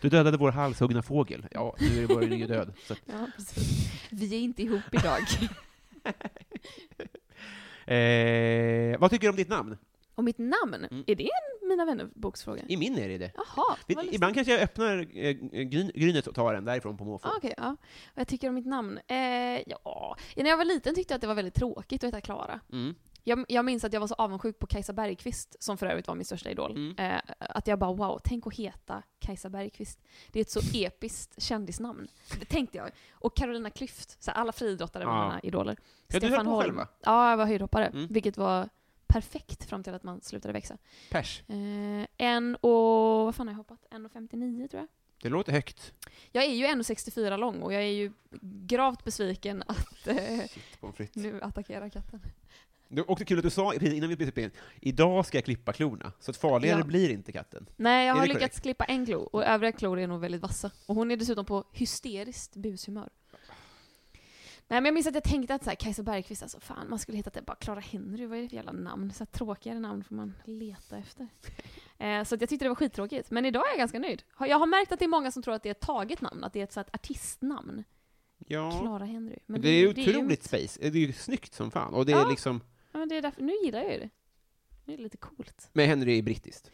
Du dödade vår halshuggna fågel. Ja, nu är den ju död. Så.
Ja, precis. Vi är inte ihop idag.
Eh, vad tycker du om ditt namn?
*laughs* Och mitt namn,
Mm.
är det en Mina vänner-boksfråga?
I min är det det.
Jaha,
Vi-
vad lustigt.
Ibland kanske jag öppnar eh, gryn, grynet och tar den därifrån på måfå.
Ah, Okej, ja. Vad jag tycker om mitt namn? Eh, ja. ja, när jag var liten tyckte jag att det var väldigt tråkigt att heta Klara.
Mm.
Jag, jag minns att jag var så avundsjuk på Kajsa Bergqvist, som för övrigt var min största idol.
Mm.
Eh, att jag bara wow, tänk att heta Kajsa Bergqvist. Det
*laughs*
är ett så episkt kändisnamn. Det tänkte jag. Och Carolina Klüft, så här, alla friidrottare var
Ja.
mina idoler.
Ja, du höll på själv, va?
Ja, jag var höjdhoppare,
Mm.
vilket var perfekt fram till att man slutade växa.
Pers.
Eh, en och, vad fan har jag hoppat? 1,59 tror jag.
Det låter högt.
Jag är ju 1,64 lång och jag är ju gravt besviken att eh,
Shit, pommes frites.
nu attackera katten.
Det var också kul att du sa precis innan vi blev spelade in, idag ska jag klippa klorna, så att farligare
Ja.
blir inte katten.
Nej, jag
Är
har
det
lyckats
korrekt?
klippa en klo och övriga klor är nog väldigt vassa. Och hon är dessutom på hysteriskt bushumör. Nej men jag minns att jag tänkte att så här, Kajsa Bergqvist, alltså fan man skulle heta det bara Clara Henry, vad är det för jävla namn? Så här, tråkigare namn får man
*laughs*
leta efter. Eh, så att jag tyckte det var skittråkigt. Men idag är jag ganska nöjd. Har- Jag har märkt att det är många som tror att det är ett taget namn, att det är ett så här, ett artistnamn.
Ja.
Clara Henry. Men
Det är ju
ju
otroligt
mitt-
space. Det är ju snyggt som fan. Och det är
Ja.
liksom,
Ja, men det är därför, nu gillar jag ju det. Nu är det lite coolt.
men Henry är brittiskt.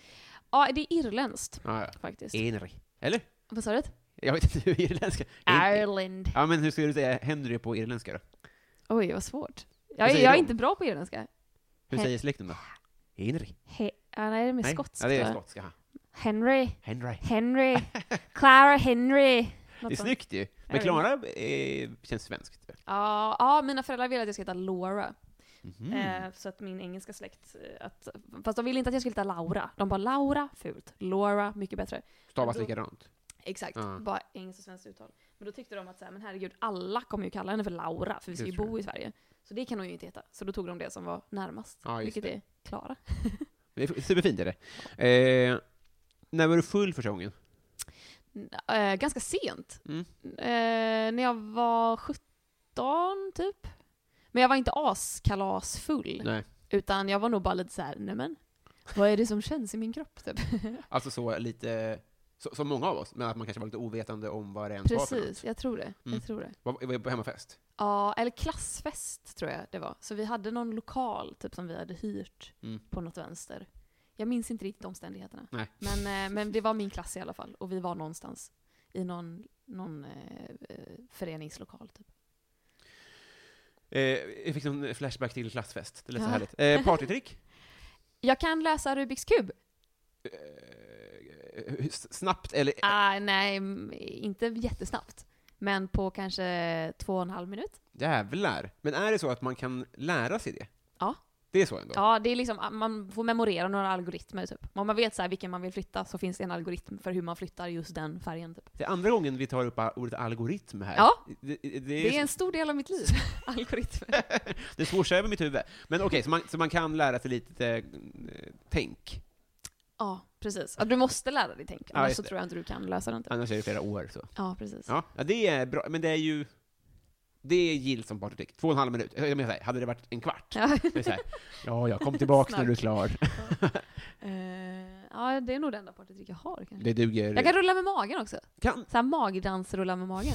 Ja, det är irländskt
Ja, ja.
faktiskt.
Henry. Eller?
Vad sa du?
Jag vet inte *laughs* hur
Äh.
irländska...
Ireland.
Ja, men hur ska du säga Henry på irländska då?
Oj, vad svårt.
Vad
Jag, är-
säger
jag är
de?
inte bra på irländska.
Hur
Hen-
säger släkten då? Henry?
He, ja, nej, det är mer skotskt.
Ja, det är
tror jag.
skotskt. Jaha.
Henry,
Henry. *laughs*
Henry, Clara Henry.
Det är
Något sånt.
snyggt ju. Men
vet
Klara eh, känns svenskt.
Ja, ja, mina föräldrar ville att jag skulle heta Laura.
Mhm.
Eh, så att min engelska släkt, eh, att, fast de ville inte att jag skulle heta Laura. De bara Laura, fult. Laura, mycket bättre.
Stavas
då-
likadant.
Exakt,
Ja.
bara engelskt och svenskt uttal. Men då tyckte de att så här, men herregud, alla kommer ju kalla henne för Laura, för vi ska
Det
ju
tror jag.
bo i Sverige. Så det kan hon ju inte heta. Så då tog de det som var närmast,
Ja, just
vilket
det.
är Klara.
Det är superfint är det. Eh, när var du full första gången?
N- eh, ganska sent.
Mm.
Eh, när jag var 17, typ. Men jag var inte askalasfull.
Nej.
Utan jag var nog bara lite så här, nej men, vad är det som känns i min kropp? Typ.
Alltså så lite, så, som många av oss, men att man kanske var lite ovetande om vad det ens var för något.
Precis, jag tror det.
Mm.
Jag tror det.
Var, var jag på hemmafest?
Ja, eller klassfest tror jag det var. Så vi hade någon lokal typ som vi hade hyrt
Mm.
på något vänster. Jag minns inte riktigt omständigheterna.
Nej.
Men, eh, men det var min klass i alla fall. Och vi var någonstans i någon, någon eh, eh, föreningslokal typ.
Eh, jag fick en flashback till klassfest, det lät så
Ja.
härligt. Eh, partytrick?
Jag kan lösa Rubiks kub.
Eh, hur- snabbt eller? *laughs*
Ah, nej, m- inte jättesnabbt. Men på kanske två och en halv minut.
Jävlar! Men är det så att man kan lära sig det?
Ja.
Det är så ändå?
Ja, det är liksom, man får memorera några algoritmer typ. Om man vet så här vilken man vill flytta så finns det en algoritm för hur man flyttar just den färgen typ.
Det är andra gången vi tar upp ordet algoritm här.
Ja.
Det, det, det,
Det
är,
är en stor del av
*laughs*
mitt liv, *laughs* algoritmer.
det svårs över mitt huvud. Men okej, så, man, så man kan lära sig lite eh, tänk?
Ja, precis. Ja, du måste lära dig tänk,
Ja,
annars
just
så
det.
tror jag inte du kan lösa den typ.
Annars är det flera år så.
Ja, precis.
Ja, ja det är bra, men det är ju... Det gills som partytrick. Två och en halv minut. Jag menar, så här, hade det varit en kvart?
Ja.
Det är så här, ja, ja, kom tillbaks när du är klar.
*laughs* Eh, ja, det är nog det enda partytrick jag har kanske.
Det duger.
Jag kan rulla med magen också.
Kan-
Så här magdansrulla
*laughs*
med magen.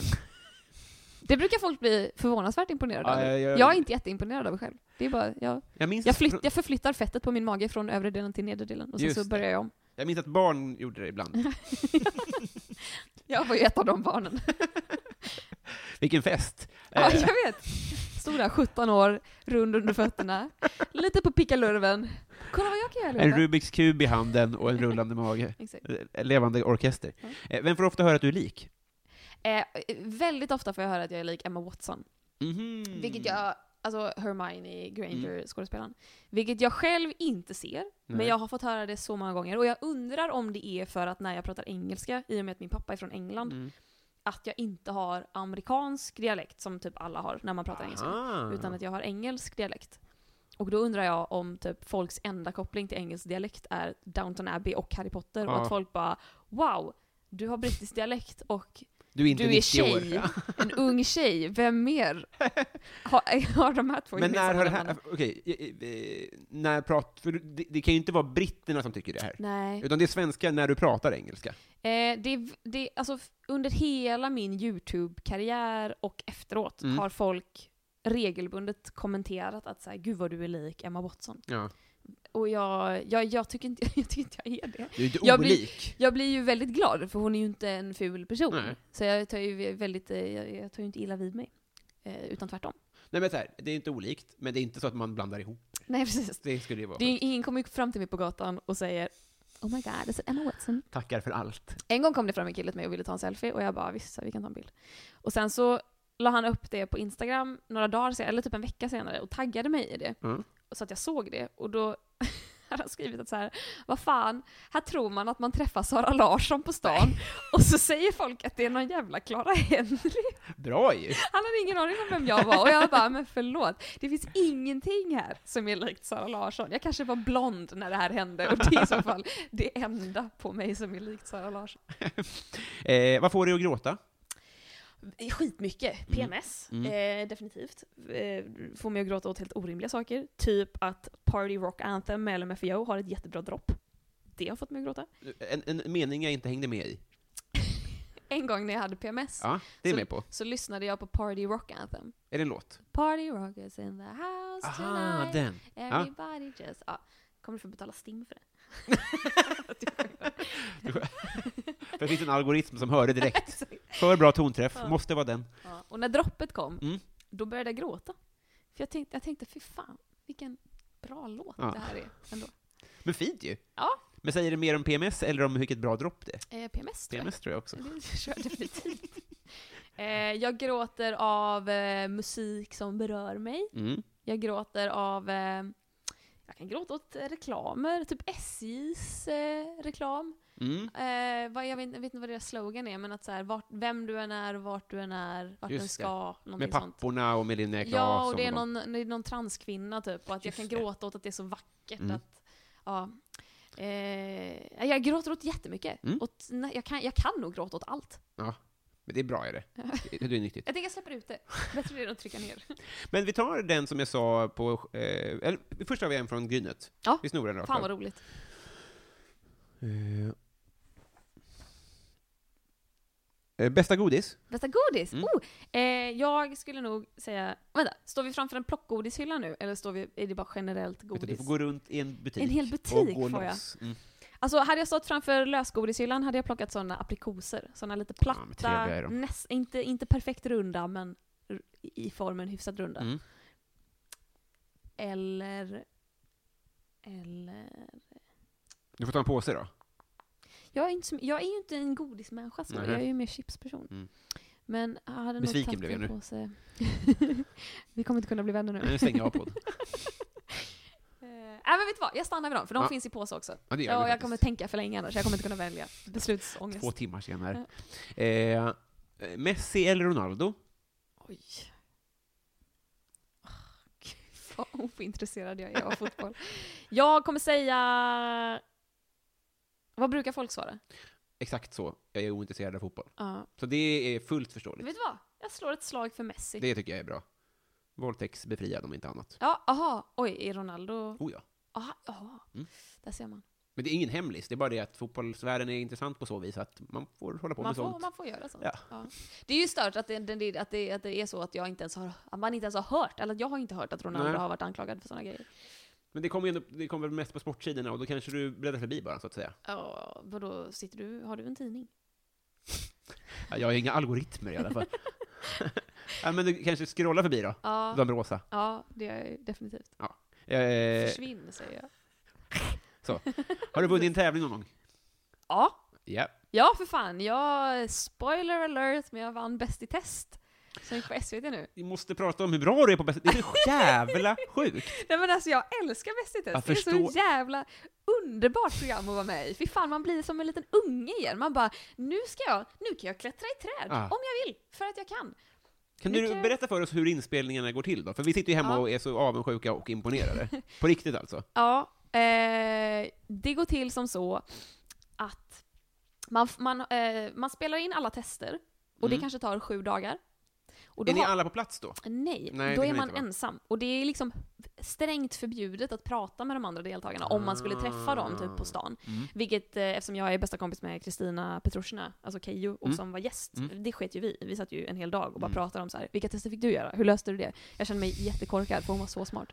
Det brukar folk bli förvånansvärt imponerade
Ja,
av.
jag, jag,
Jag är inte jätteimponerad av mig själv. Det är bara, jag,
jag minns,
jag, flytt, jag förflyttar fettet på min mage från övre delen till nedre delen och sen
Just
så
det.
börjar jag om.
jag minns att
*laughs*
barn gjorde det ibland. *laughs*
Jag var ju ett av de barnen.
Vilken fest!
Ja,
Eh,
jag vet. Stod där 17 år, rund under fötterna, lite på pickalurven. Kolla vad jag kan göra i
en
lumpen.
Rubiks kub i handen och en rullande
*laughs*
mage.
Exakt.
Eh, Levande orkester.
Mm.
Eh, Vem får ofta höra att du är lik?
Eh, väldigt ofta får jag höra att jag är lik Emma Watson.
Mm. Mm-hmm.
Vilket jag, alltså Hermione Granger, skådespelaren. Vilket jag själv inte ser, men
Nej.
jag har fått höra det så många gånger. Och jag undrar om det är för att när jag pratar engelska, i och med att min pappa är från England,
Mm.
att jag inte har amerikansk dialekt som typ alla har när man pratar engelska.
Ah.
Utan att jag har engelsk dialekt. Och då undrar jag om typ folks enda koppling till engelsk dialekt är Downton Abbey och Harry Potter. Och
Ja.
att folk bara “Wow, du har brittisk dialekt och
Du är inte
du är
90 år.
tjej, en ung tjej,
*laughs*
vem mer?” Har, *laughs* har de här två
Men när
gemensamma
har det här...
nämnarna?
Okej, eh, eh, när prat... För det, det kan ju inte vara britterna som tycker det här.
Nej.
Utan det är svenska när du pratar engelska.
Eh, det, är- det, är- alltså, f- under hela min YouTube-karriär och efteråt
Mm.
har folk regelbundet kommenterat att så här, “Gud vad du är lik Emma Watson”.
Ja.
Och jag, jag, jag, tycker, inte, *laughs* jag tycker inte jag är det.
Du är inte
Jag blir-
olik.
Jag blir ju väldigt glad, för hon är ju inte en ful person.
Nej.
Så jag tar ju väldigt, eh, jag, jag tar ju inte illa vid mig. Eh, utan tvärtom.
Nej men så här, det är inte olikt, men det är inte så att man blandar ihop.
Nej precis.
Det skulle ju vara...
Det är, ingen kommer ju fram till mig på gatan och säger Oh my god, is it Emma Watson?
Tackar för allt.
En gång kom det fram en kille till mig och ville ta en selfie och jag bara visst, så här, vi kan ta en bild. Och sen så la han upp det på Instagram några dagar senare, eller typ en vecka senare, och taggade mig i det.
Mm.
Så att jag såg det och då *laughs* hade han skrivit att så här, vad fan, här tror man att man träffar Sara Larsson på stan *laughs* och så säger folk att det är någon jävla Clara Henry. *laughs*
Bra ju!
Han hade ingen aning om vem jag var och jag bara, men förlåt. Det finns ingenting här som är likt Sara Larsson. Jag kanske var blond när det här hände och det är i så fall det enda på mig som är likt Sara Larsson.
Eh, vad får dig att gråta?
Skitmycket. PMS,
Mm.
Eh, definitivt. Eh, får mig att gråta åt helt orimliga saker. Typ att Party Rock Anthem med LMFAO har ett jättebra dropp. Det har fått mig att gråta.
En, en mening jag inte hängde med i.
*laughs* En gång när jag hade PMS
Ja, det är
Så-
jag med på.
så lyssnade jag på Party Rock Anthem.
Är det en låt? Ah,
Party rock is in the house tonight.
den.
Everybody just... Ja. Kommer du få betala STIM för det?
För det finns en algoritm som hör det
*laughs*
direkt. För bra tonträff, måste vara den.
Ja. Och när droppet kom,
Mm.
då började jag gråta. För jag tänkte, jag tänkte fy fan, vilken bra låt
Ja.
det här är ändå.
Men fint ju!
Ja.
Men säger det mer om PMS eller om vilket bra dropp det är?
Eh, PMS, tror jag.
PMS tror jag också.
Det kör jag definitivt. *laughs* eh, jag gråter av eh, musik som berör mig.
Mm.
Jag gråter av... Eh, jag kan gråta åt eh, reklamer, typ SJs eh, reklam.
Mm.
Eh, vad, jag, vet, jag vet inte vad deras slogan är, men att så här, vart, vem du än är, vart du än är, vart du
Just
än
det.
ska.
Med
Någonting sånt.
papporna och med Linnea Claes
Ja, och det är,
de-
någon, det är någon transkvinna typ, och att
Just
jag kan
det.
gråta åt att det är så vackert.
Mm.
Att, ja. eh, jag gråter åt jättemycket.
Mm.
Åt, nej, jag, kan, jag kan nog gråta åt allt.
Men det är bra är det. Det det är nyttigt.
Jag tänker jag släpper ut det. Bättre är det än att
*laughs*
trycka ner.
Men vi tar den som jag sa på... Eh, eller, först har vi en från Grynet.
Ja.
Vi snor den rakt
Fan vad
av.
roligt.
Eh, Bästa godis?
Bästa godis?
Mm.
Oh, eh, jag skulle nog säga... Vänta, står vi framför en plockgodishylla nu? Eller står vi, är det bara generellt
Godis. Du
godis?
får gå runt i en butik.
En hel
och
butik
gå
får jag.
loss. Mm.
Alltså hade jag stått framför lösgodishyllan hade jag plockat sådana aprikoser. Sådana lite
Ja, men
platta,
trevliga är de.
näst, inte, inte perfekt runda men r- i formen hyfsat runda.
Mm.
Eller... Eller...
Du får ta en påse då.
Jag är, inte, så- jag är ju inte en godismänniska så,
Nej.
jag är ju mer chipsperson.
Mm.
Men jag hade nog
Besviken
tagit
blev jag
en
nu.
påse. *laughs* Vi kommer inte kunna bli vänner nu.
Nu stänger jag av podden.
Eh, Nej men vet du vad, jag stannar vid dem för de
Ja.
finns i påse också. *laughs*
Ja, det gör vi
Ja, och jag
faktiskt.
kommer tänka för länge annars, jag kommer inte kunna välja. Beslutsångest.
Två timmar senare. Eh, Messi eller Ronaldo?
Oj. Ah, Gud, *laughs* vad ointresserad jag är av fotboll. Jag kommer säga... Vad brukar folk svara?
Exakt så. Jag är ointresserad av fotboll.
Ja.
Så det är fullt förståeligt.
vet du vad? Jag slår ett slag för Messi.
Det tycker jag är bra. Våldtäktsbefriad om inte annat.
Ja, aha. Oj, är Ronaldo...
Oh ja.
Aha, aha.
Mm.
Där ser man.
Men det är ingen hemlis, det är bara det att fotbollsvärlden är intressant på så vis att man får hålla på
Man
med
får,
sånt.
man får göra sånt.
Ja.
Ja. Det är ju stört att det, det- det, att, det, att det är så att, jag inte ens har, att man inte ens har hört, eller att jag har inte hört att Ronaldo
Nej.
har varit anklagad för sådana grejer.
Men det kommer ju ändå, det kommer väl mest på sportsidorna och då kanske du bläddrar förbi bara, så att säga.
Ja, vadå, sitter du, har du en tidning? *laughs*
Ja, Jag har inga algoritmer i alla fall. Ja, men du kanske scrollar förbi då?
Ja,
De rosa.
ja det gör jag definitivt.
Eh,
Försvinn, säger jag.
har du vunnit en tävling någon gång?
Ja,
Ja.
ja för fan. Jag, spoiler alert, men jag vann Bäst i test. Som gick på SVT nu.
Vi måste prata om hur bra du är på bästa... Det är så jävla sjukt!
Nej men alltså jag älskar Bäst i
Jag
test. Det är så
förstår-
jävla underbart program att vara med i. Fy fan, man blir som en liten unge igen. Man bara, nu ska jag, nu kan jag klättra i träd.
Ah.
Om jag vill, för att jag kan.
Kan
Nu
du
kan jag-
berätta för oss hur inspelningarna går till då? För vi sitter ju hemma
Ja.
och är så avundsjuka och imponerade. På riktigt alltså.
Ja, eh, det går till som så att man, man, eh, man spelar in alla tester, och det
Mm.
kanske tar sju dagar. Och då
Är ni
har-
alla på plats då?
Nej,
Nej, det
då är
kan
man
inte vara.
ensam. Och det är liksom strängt förbjudet att prata med de andra deltagarna om man skulle träffa dem typ på stan.
Ah. Mm.
Vilket, eh, eftersom jag är bästa kompis med Kristina Petrushina, alltså Keyyo, och
Mm.
som var gäst, det sket ju vi. Vi satt ju en hel dag och bara pratade om så här, vilka tester fick du göra? Hur löste du det? Jag kände mig jättekorkad för hon var
*laughs*
så smart.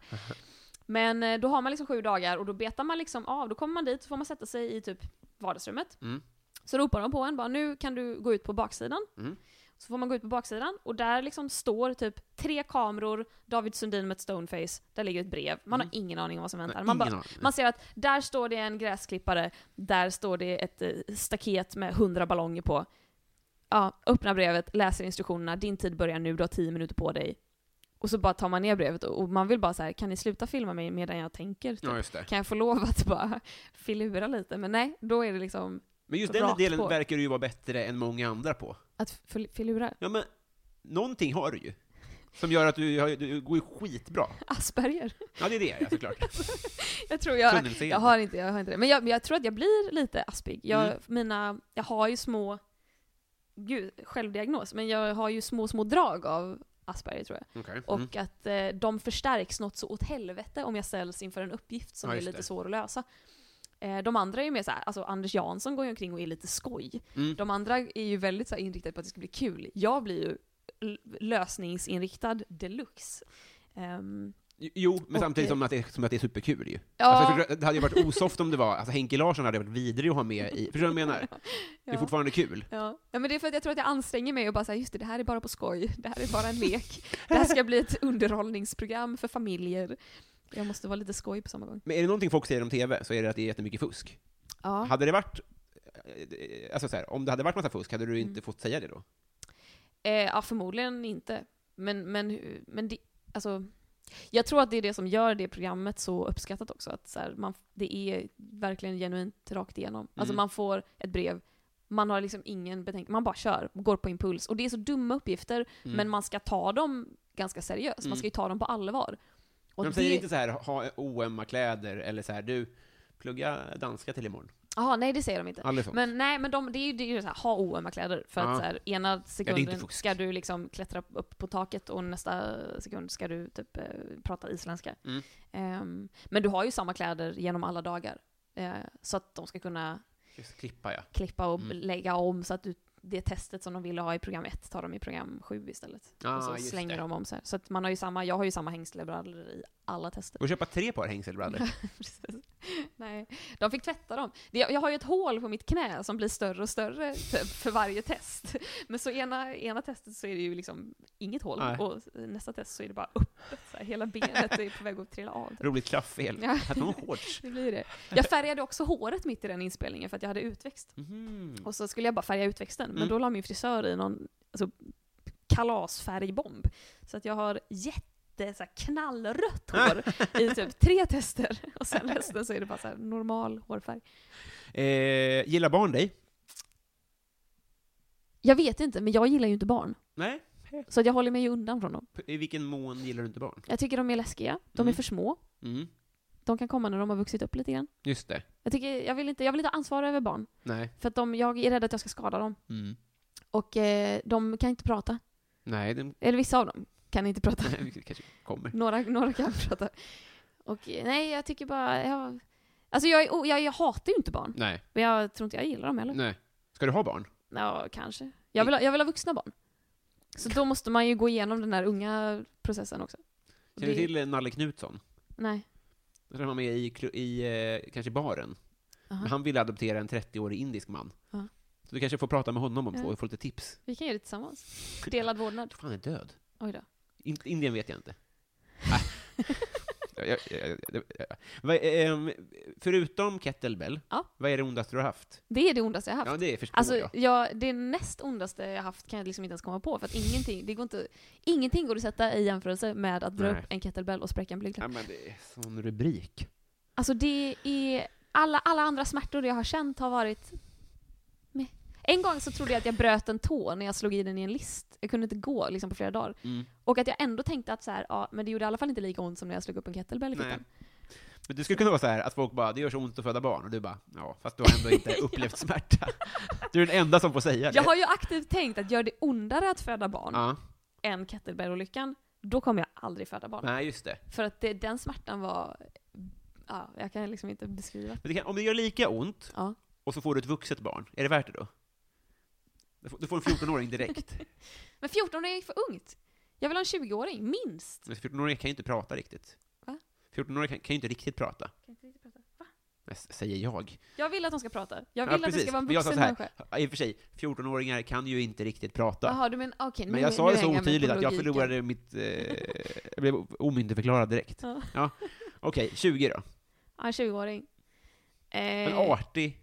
Men eh, då har man liksom sju dagar och då betar man liksom av, då kommer man dit och får man sätta sig i typ vardagsrummet.
Mm.
Så ropar de på en bara, nu kan du gå ut på baksidan.
Mm.
Så får man gå ut på baksidan och där liksom står typ tre kameror, David Sundin med ett stoneface, där ligger ett brev. Man har ingen aning om vad som väntar.
Mm. Nej,
Man,
ingen
bara,
aning.
man ser att där står det en gräsklippare, där står det ett eh, staket med hundra ballonger på. Ja, öppnar brevet, läser instruktionerna, din tid börjar nu, du har tio minuter på dig. Och så bara tar man ner brevet och och man vill bara så här, kan ni sluta filma mig medan jag tänker? Typ?
Ja, just det.
Kan jag få lov att bara *laughs* filura lite? Men nej, då är det liksom
Men just den
Rakt
delen
på.
verkar du ju vara bättre än många andra på.
att fil- filura.
Ja, men någonting har du ju. Som gör att du, har- du går ju skitbra.
Asperger. *laughs*
Ja, det är det, ja, såklart.
Jag tror jag,
Tunnelseende.
jag har inte, jag har inte det. Men jag, men jag tror att jag blir lite aspig. Jag,
Mm.
mina, jag har ju små, gud, självdiagnos, men jag har ju små, små drag av Asperger tror jag.
Okej.
Och
Mm.
att eh, de förstärks något så åt helvete om jag ställs inför en uppgift som
Ja,
är
just
lite
det.
svår att lösa. Eh, de andra är ju mer såhär, alltså Anders Jansson går ju omkring och är lite skoj.
Mm.
De andra är ju väldigt så här, inriktade på att det ska bli kul. Jag blir ju l- lösningsinriktad deluxe. Ehm,
Jo, men
Och,
samtidigt
eh,
som att, det, som att det är superkul ju.
Ja.
Alltså, jag förstår- det hade ju varit osoft om det var, alltså Henke Larsson hade varit vidrig att ha med i, förstår du vad jag menar? Det är
Ja.
fortfarande kul.
Ja. ja, men det är för att jag tror att jag anstränger mig och bara säger just det, det här är bara på skoj, det här är bara en lek. Det här ska bli ett underhållningsprogram för familjer. Jag måste vara lite skoj på samma gång.
Men är det någonting folk säger om TV så är det att det är jättemycket fusk.
Ja.
Hade det varit, eh, alltså så här, om det hade varit massa fusk, hade
Mm.
du inte fått säga det då?
Eh, ja, förmodligen inte. Men, men, hu- men det, alltså, jag tror att det är det som gör det programmet så uppskattat också. Att så här, man, det är verkligen genuint rakt igenom. Alltså
Mm.
man får ett brev, man har liksom ingen betänk man bara kör, går på impuls. Och det är så dumma uppgifter,
Mm.
men man ska ta dem ganska seriöst. Man ska ju ta dem på allvar. Och
Men de säger
det-
inte så här, ha OMA kläder, eller så här, du, plugga danska till imorgon.
Jaha, nej det säger de inte.
Aldrig sånt.
Men nej, men de, det är ju, det är ju så här, ha oömma kläder. För
Ja.
att så här, ena sekunden
inte fusk.
ska du liksom klättra upp på taket och nästa sekund ska du typ eh, prata isländska.
Mm.
Ehm, men du har ju samma kläder genom alla dagar. Eh, så att de ska kunna
Just klippa ja.
klippa och
Mm.
lägga om så att du, det testet som de ville ha i program 1 tar de i program 7 istället.
Ah,
och så
just
slänger
det.
de om så här. Så att man har ju samma, jag har ju samma hängslebrallor i alla tester.
Och köpa tre par hängselbrallor.
*laughs* Precis. Nej, de fick tvätta dem. Det- Jag har ju ett hål på mitt knä som blir större och större typ, för varje test. Men så ena, ena testet så är det ju liksom inget hål
Nej.
och nästa test så är det bara öppet. Så här, hela benet är på väg att trilla av. typ.
Roligt klafffel.
Ja.
Hade någon shorts?
Det blir det. Jag färgade också håret mitt i den inspelningen för att jag hade utväxt.
Mhm.
Och så skulle jag bara färga utväxten, men
Mm.
då la min frisör i någon alltså, kalasfärgbomb. Så att jag har jätte så här,
*laughs*
knallrött hår i typ tre tester. Och sen resten så är det bara så här, normal hårfärg.
Eh, gillar barn dig?
Jag vet inte, men jag gillar ju inte barn.
Nej.
Så att jag håller mig ju undan från dem.
I vilken mån gillar du inte barn?
Jag tycker de är läskiga, de
Mm.
är för små,
Mm.
de kan komma när de har vuxit upp lite grann.
Just det.
Jag, tycker, jag, vill, inte, jag vill inte ha ansvar över barn,
Nej.
för att de, jag är rädd att jag ska skada dem.
Mm.
Och eh, de kan inte prata.
Nej, den
Eller vissa av dem kan inte prata.
*laughs* nej, vi kanske kommer.
några, några kan *laughs* prata. Och eh, nej, jag tycker bara... Jag, alltså jag, är o- jag, jag hatar ju inte barn,
Nej.
men jag tror inte jag gillar dem heller.
Nej. Ska du ha barn?
Ja, kanske. Jag vill, ha, jag vill ha vuxna barn. Så då måste man ju gå igenom den där unga processen också. Och
Känner du
det-
till eh, Nalle Knutsson?
Nej.
Han var han med i, klu- i eh, kanske baren.
Aha.
Men han ville adoptera en 30-årig indisk man.
Ja.
Så du kanske får prata med honom om
Ja.
och få lite tips.
Vi kan göra det tillsammans. Delad vårdnad.
Jag tror han är död.
Oj då.
In, Indien vet jag inte. Nej. jag, jag, jag, jag, jag. Vad, ehm, förutom kettlebell,
Ja.
vad är det ondaste du har haft?
*laughs* Det är det ondaste jag haft.
Ja, det förstår
Alltså,
jag.
ja, det näst ondaste jag haft kan jag liksom inte ens komma på, för att ingenting, det går inte, ingenting går att sätta i jämförelse med att dra
Nej.
upp en kettlebell och spräcka en blygdläpp.
Ja, men det är sån rubrik.
Alltså det är, alla, alla andra smärtor jag har känt har varit... Meh. En gång så trodde jag att jag bröt en tå när jag slog i den i en list. Jag kunde inte gå liksom, på flera dagar.
Mm,
Och att jag ändå tänkte att så här, ja, men det gjorde i alla fall inte lika ont som när jag slog upp en kettlebell i
Nej.
fittan.
Men det skulle kunna vara så här att folk bara, det gör så ont att föda barn, och du bara, ja, fast du har ändå
*laughs*
inte upplevt smärta. Du är den enda som får säga det.
Jag har ju aktivt tänkt att gör det ondare att föda barn
Ja,
än kettlebellolyckan, då kommer jag aldrig föda barn.
nej just det.
För att det, den smärtan var... Ja, jag kan liksom inte beskriva.
Men det kan, om det gör lika ont,
Ja.
och så får du ett vuxet barn, är det värt det då? Du får, du får en 14-åring
*laughs*
direkt.
Men 14 är för ungt. Jag vill ha en 20-åring, minst.
Men 14-åringar kan ju inte prata riktigt.
Va?
14-åringar kan, kan ju inte riktigt prata. Men s- Säger jag.
Jag vill att de ska prata. Jag
Ja,
vill att det
precis.
ska vara en
Men jag sa
vuxen
så här,
människa.
Ja, I och för sig, 14-åringar kan ju inte riktigt prata.
Jaha, du menar, okej.
Men
nu-
jag sa
nu
det så
hänger med
otydligt
på
att jag
logiken.
förlorade mitt... Eh, jag blev omyndigförklarad direkt.
Ja.
Ja. Okej, 20 då.
Ja, en 20-åring. Eh,
En artig,
Nej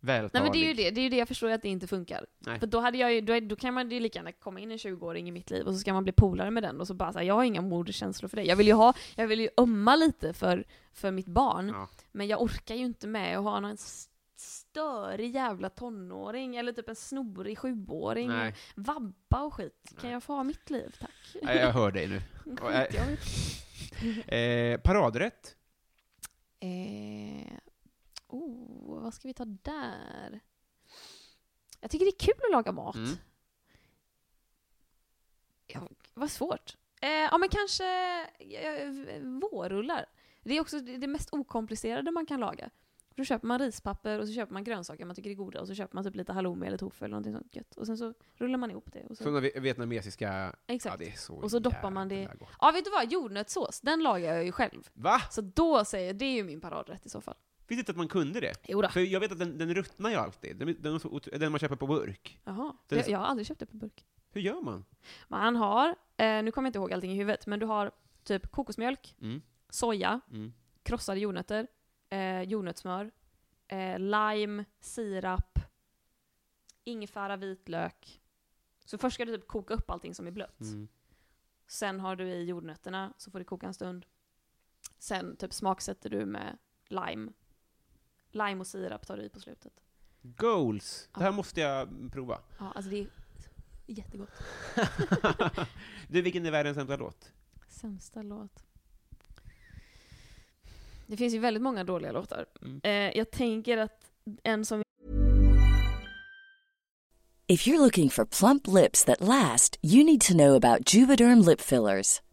vältalig.
men det är ju det, det är ju det jag förstår att det inte funkar.
Nej.
För då, hade jag ju, då, då kan man ju lika gärna komma in en 20-åring i mitt liv och så ska man bli polare med den och så bara såhär, jag har inga moderkänslor för dig. Jag vill ju ha, jag vill ju ömma lite för, för mitt barn,
Ja.
men jag orkar ju inte med att ha någon s- störig jävla tonåring eller typ en snorig sjuåring.
Nej.
Vabba och skit. Kan
Nej.
jag få ha mitt liv tack?
Nej, jag hör dig nu. Och,
*laughs*
eh,
Skitjobbigt.
eh, paradrätt?
Eh, oh, vad ska vi ta där? Jag tycker det är kul att laga mat.
Mm.
Ja, vad svårt. Eh, ja, men kanske eh, vårrullar. Det är också det det mest okomplicerade man kan laga. Då köper man rispapper och så köper man grönsaker man tycker är goda och så köper man typ lite halloumi eller tofu eller någonting sånt gött. Och sen så rullar man ihop det. Och så,
Sådana vi- vietnamesiska... Ja,
Typ. exakt.
det är så
Och så doppar man det-
jävla gott.
Ja, vet du vad? Jordnötssås, den lagar jag ju själv.
Va?
Så då säger jag, det är ju min paradrätt i så fall.
Visste inte att man kunde det?
Jodå.
För jag vet att den, den ruttnar ju alltid. Den, den, är så otro- den man köper på burk.
Jaha,
Det är
jag,
så-
jag har aldrig köpt det på burk.
Hur gör man?
Man har, eh, nu kommer jag inte ihåg allting i huvudet, men du har typ kokosmjölk,
Mm.
soja,
Mm.
krossade jordnötter, eh, jordnötssmör, eh, lime, sirap, ingefära, vitlök. Så först ska du typ koka upp allting som är blött.
Mm.
Sen har du i jordnötterna, så får det koka en stund. Sen typ smaksätter du med lime. Lime och sirap tar du i på slutet.
Goals! Det här måste jag prova.
Ja, alltså det är jättegott.
du, vilken är världens sämsta låt?
Sämsta låt. Det finns ju väldigt många dåliga låtar.
Mm.
Eh, jag tänker att en som
If you're looking for plump lips that last, you need to know about Juvederm lip fillers.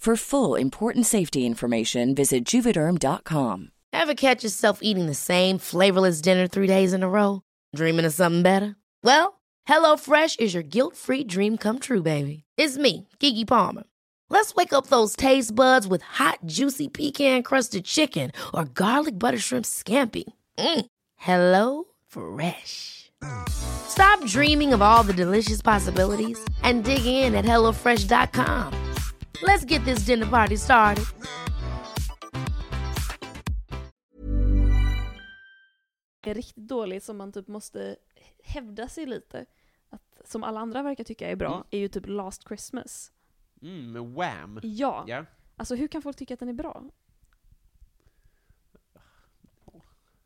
For full important safety information, visit juvederm.com.
Ever catch yourself eating the same flavorless dinner three days in a row? Dreaming of something better? Well, HelloFresh is your guilt free dream come true, baby. It's me, Gigi Palmer. Let's wake up those taste buds with hot, juicy pecan crusted chicken or garlic butter shrimp scampi. Mm. Hello Fresh. Stop dreaming of all the delicious possibilities and dig in at HelloFresh.com. Let's get this dinner party started.
är riktigt dålig som man typ måste hävda sig lite, att, som alla andra verkar tycka är bra, är ju typ Last Christmas.
Mm, med Wham.
Ja.
Mm. Ja.
Alltså hur kan folk tycka att den är bra?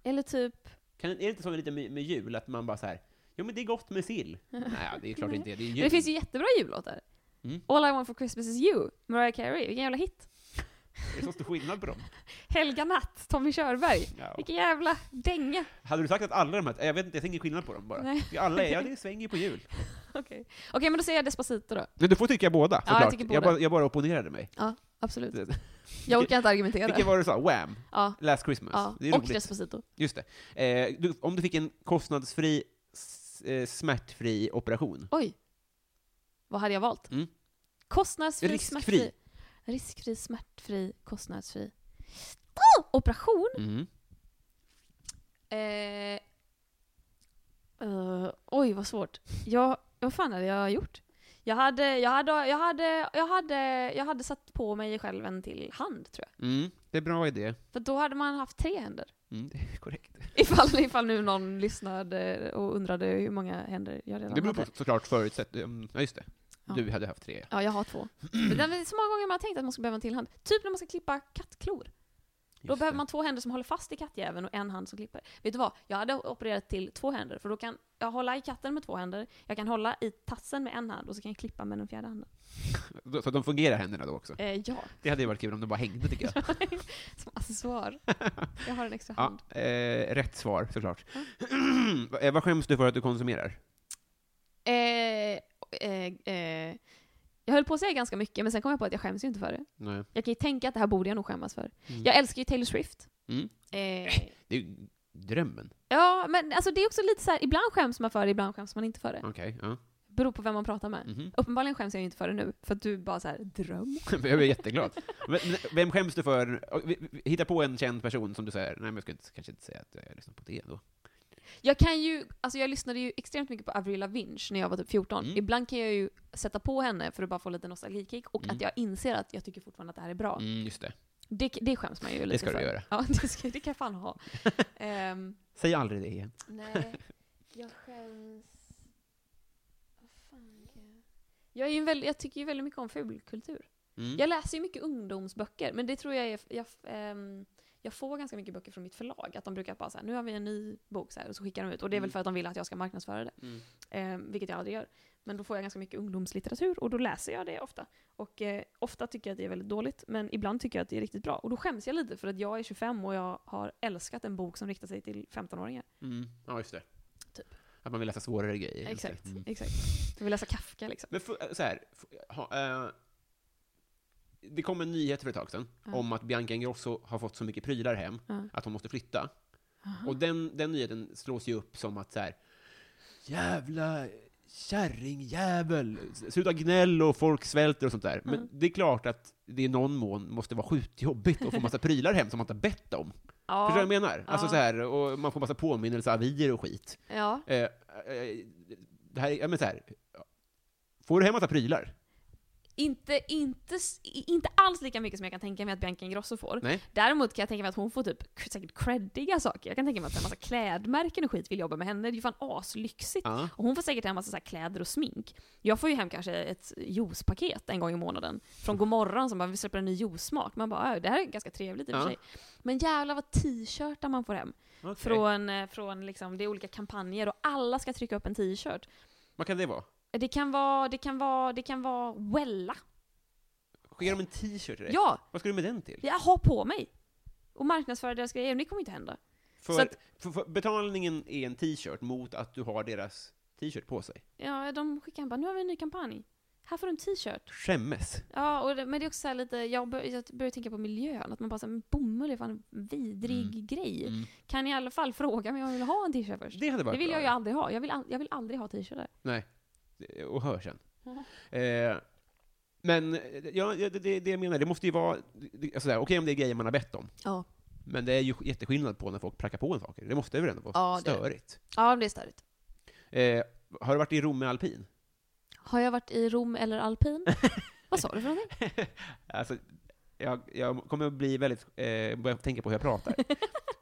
Eller typ,
Kan, är det inte så lite med, med jul, att man bara så här, jo men det är gott med
*laughs*
sill? Nej, det är klart det inte är. Det är jul.
det finns ju jättebra jullåtar.
Mm.
All I want for Christmas is you, Mariah Carey, vilken jävla hit.
Det är så stor skillnad på dem.
Helga Natt, Tommy Körberg, *laughs*
Ja.
vilken jävla dänga.
Hade du sagt att alla de här, jag vet inte, jag ser ingen skillnad på dem bara.
Nej.
Vi Alla är, ja det svänger ju på jul.
*laughs* Okej, Okej, men då säger jag Despacito då.
Men du får tycka båda,
Ja, jag
såklart.
tycker båda.
jag, bara, jag bara opponerade mig.
Ja, absolut.
Det-
Jag orkar inte argumentera.
Vilken var det du sa? Wham!
Ja,
Last Christmas.
ja.
Det är
och
roligt.
Despacito.
Just det. Eh, du, om du fick en kostnadsfri, s- eh, smärtfri operation.
Oj. Vad hade jag valt?
Mm.
Kostnadsfri,
Riskfri.
smärtfri. Riskfri, smärtfri, kostnadsfri. Oh! Operation?
Mm.
Eh, eh, oj, vad svårt. Jag, vad fan hade jag gjort? Jag hade, jag, hade, jag, hade, jag, hade, jag hade satt på mig själv en till hand, tror jag.
Mm. Det är bra idé.
För då hade man haft tre händer.
Mm, det är korrekt.
Ifall, ifall nu någon lyssnade och undrade hur många händer jag redan
Det beror på
hade.
såklart förutsätt... mm, Ja, just det.
Ja.
Du hade haft tre.
Ja, jag
*clears throat*
har två. Men Det är så många gånger man har tänkt att man ska behöva en till hand. Typ när man ska klippa kattklor. Då
Just
behöver
det.
man två händer som håller fast i kattjäveln och en hand som klipper. Vet du vad? Jag hade opererat till två händer, för då kan jag hålla i katten med två händer, jag kan hålla i tassen med en hand och så kan jag klippa med den fjärde handen.
Så att de fungerar händerna då också.
Eh, *laughs* ja,
Det hade ju varit kul om de bara hängde, tycker
*laughs*
jag.
som
*laughs*
accessoar. Jag har en extra hand.
ja, eh, rätt svar, såklart. *clears throat* eh, vad skäms du för att du konsumerar?
Eh, eh, eh, jag höll på att säga ganska mycket, men sen kom jag på att jag skäms ju inte för det.
Nej.
Jag kan ju tänka att det här borde jag nog skämmas för.
Mm.
Jag älskar ju Taylor Swift.
Mm.
Eh,
Det är ju drömmen.
ja, men alltså det är också lite så här, ibland skäms man för det, ibland skäms man inte för det.
Okej, ja.
Beror på vem man pratar med.
Mhm.
Uppenbarligen skäms jag ju inte för det nu, för att du bara så här dröm.
*laughs* Jag blir jätteglad. Men, men vem skäms du för? Hitta på en känd person som du säger, nej men jag skulle inte, kanske inte säga att jag lyssnar på det ändå.
Jag kan ju, alltså jag lyssnade ju extremt mycket på Avril Lavigne när jag var typ 14.
Mm.
Ibland kan jag ju sätta på henne för att bara få lite nostalgikick och att jag inser att jag tycker fortfarande att det här är bra.
Mm, just det.
Det, det skäms man ju lite
Det ska
för.
du göra.
Ja, *laughs* det, ska, det kan jag
*laughs*
fan ha. Ehm,
Säg aldrig det igen.
nej, jag skäms... Vad fan kan jag- Jag, är ju en väldigt, jag tycker ju väldigt mycket om fulkultur.
Mm.
Jag läser ju mycket ungdomsböcker, men det tror jag är... Jag, ehm, jag får ganska mycket böcker från mitt förlag. Att de brukar bara säga nu har vi en ny bok så här, och så skickar de ut. Och det är väl för att de vill att jag ska marknadsföra det.
Mm.
Eh, vilket jag aldrig gör. Men då får jag ganska mycket ungdomslitteratur och då läser jag det ofta. Och eh, ofta tycker jag att det är väldigt dåligt, men ibland tycker jag att det är riktigt bra. Och då skäms jag lite för att jag är 25 och jag har älskat en bok som riktar sig till 15-åringar.
Mm. Ja, just det.
Typ.
Att man vill läsa svårare grejer. just det.
Exakt,
Mm.
exakt. Jag vill läsa Kafka liksom.
Men fu- eh, så här, fu- ha, eh, det kom en nyhet för ett tag sedan
Ja.
om att Bianca Ingrosso har fått så mycket prylar hem
Ja.
att hon måste flytta. Och den, den nyheten slås ju upp som att så här, jävla kärringjävel, sluta gnäll och folk svälter och sånt där. Men det är klart att det i någon mån måste vara skitjobbigt att få massa prylar hem som man inte har bett om.
Ja,
Förstår du vad jag menar? Alltså
Ja.
så här, och man får massa påminnelseavier och skit.
ja.
Eh, eh, det här, är- ja men så här, får du hem massa prylar?
Inte, inte, s- i- inte alls lika mycket som jag kan tänka mig att Bianca Ingrosso får.
Nej?
Däremot kan jag tänka mig att hon får typ k- säkert creddiga saker. Jag kan tänka mig att en massa klädmärken och skit vill jobba med henne. Det är ju fan aslyxigt.
Ja.
Och hon får säkert hem massa så här kläder och smink. Jag får ju hem kanske ett juicepaket en gång i månaden.
Mm.
Från Godmorgon som bara vi släpper en ny juicesmak. Man bara "Äh, det här är ganska trevligt i och för
Ja.
sig. Men jävlar vad t-shirtar man får hem.
Okej.
Från, eh, från liksom, det är olika kampanjer och alla ska trycka upp en t-shirt.
Vad kan det vara?
Det kan vara, det kan vara, det kan vara Wella.
Skickar de en t-shirt till dig?
Ja,
Vad ska du med den till?
jag har på mig. Och marknadsföra deras grejer, det kommer inte hända.
För,
så att-
för, för betalningen är en t-shirt mot att du har deras t-shirt på sig.
Ja, de skickar en bara, nu har vi en ny kampanj. Här får du en t-shirt.
Skämmes.
Ja, och det, men det är också så här lite, jag, bör, jag börjar tänka på miljön. Att man bara säger, bomull är fan en vidrig grej. Kan ni i alla fall fråga mig om jag vill ha en t-shirt först?
Mm. Det hade varit
vill
bra.
jag ju aldrig ha. Jag vill, al- jag vill aldrig ha t-shirtar.
Nej. Det- Och hör sen.
Mm.
Eh, men eh, ja, ja, det, det, det jag menar, det måste ju vara... det- Alltså där, Okej om det är grejer man har bett om,
Ja.
men det är ju jätteskillnad på när folk prackar på en saker. Det måste väl ändå vara
Ja, det-
störigt?
Ja, det är störigt.
Eh, har du varit i Rom med alpin?
Har jag varit i Rom
*laughs*
eller alpin? Vad sa du för någonting?
Alltså, jag, jag kommer att bli väldigt... Eh, börja tänka på hur jag
*laughs*
pratar.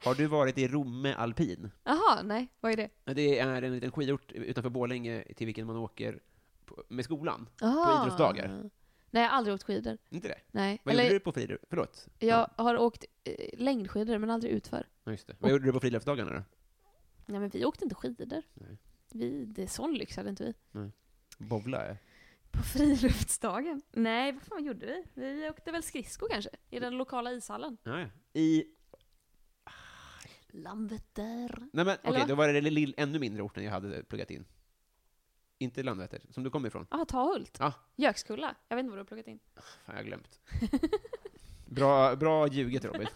har du varit i Rom med alpin?
Jaha, nej. Vad är det?
Det är en liten skidort utanför Borlänge till vilken man åker på, med skolan.
Ah.
idrottsdagar.
Nej, jag har aldrig åkt skidor.
Inte det?
Nej.
Vad
Eller
gjorde du på friluft? Förlåt.
jag har åkt eh, längdskidor men aldrig utför.
Ja, just det. Vad gjorde du på friluftsdagarna då?
Nej men vi åkte inte skidor.
Nej.
Vi, det är sån lyx hade inte vi.
Bowla, ja.
På friluftsdagen? Nej, vad fan gjorde vi? Vi åkte väl skridsko kanske? I den lokala ishallen.
Ja, ja. I...
Landvetter.
Nej men okej,
Eller vad?
då var det den lill- ännu mindre orten jag hade pluggat in. Inte Landvetter, som du kommer ifrån.
Ja, ah, Tahult.
Ja.
Gökskulla. Jag vet inte vad du har pluggat in.
Fan, jag har glömt.
*laughs*
Bra, bra ljuget, Robin.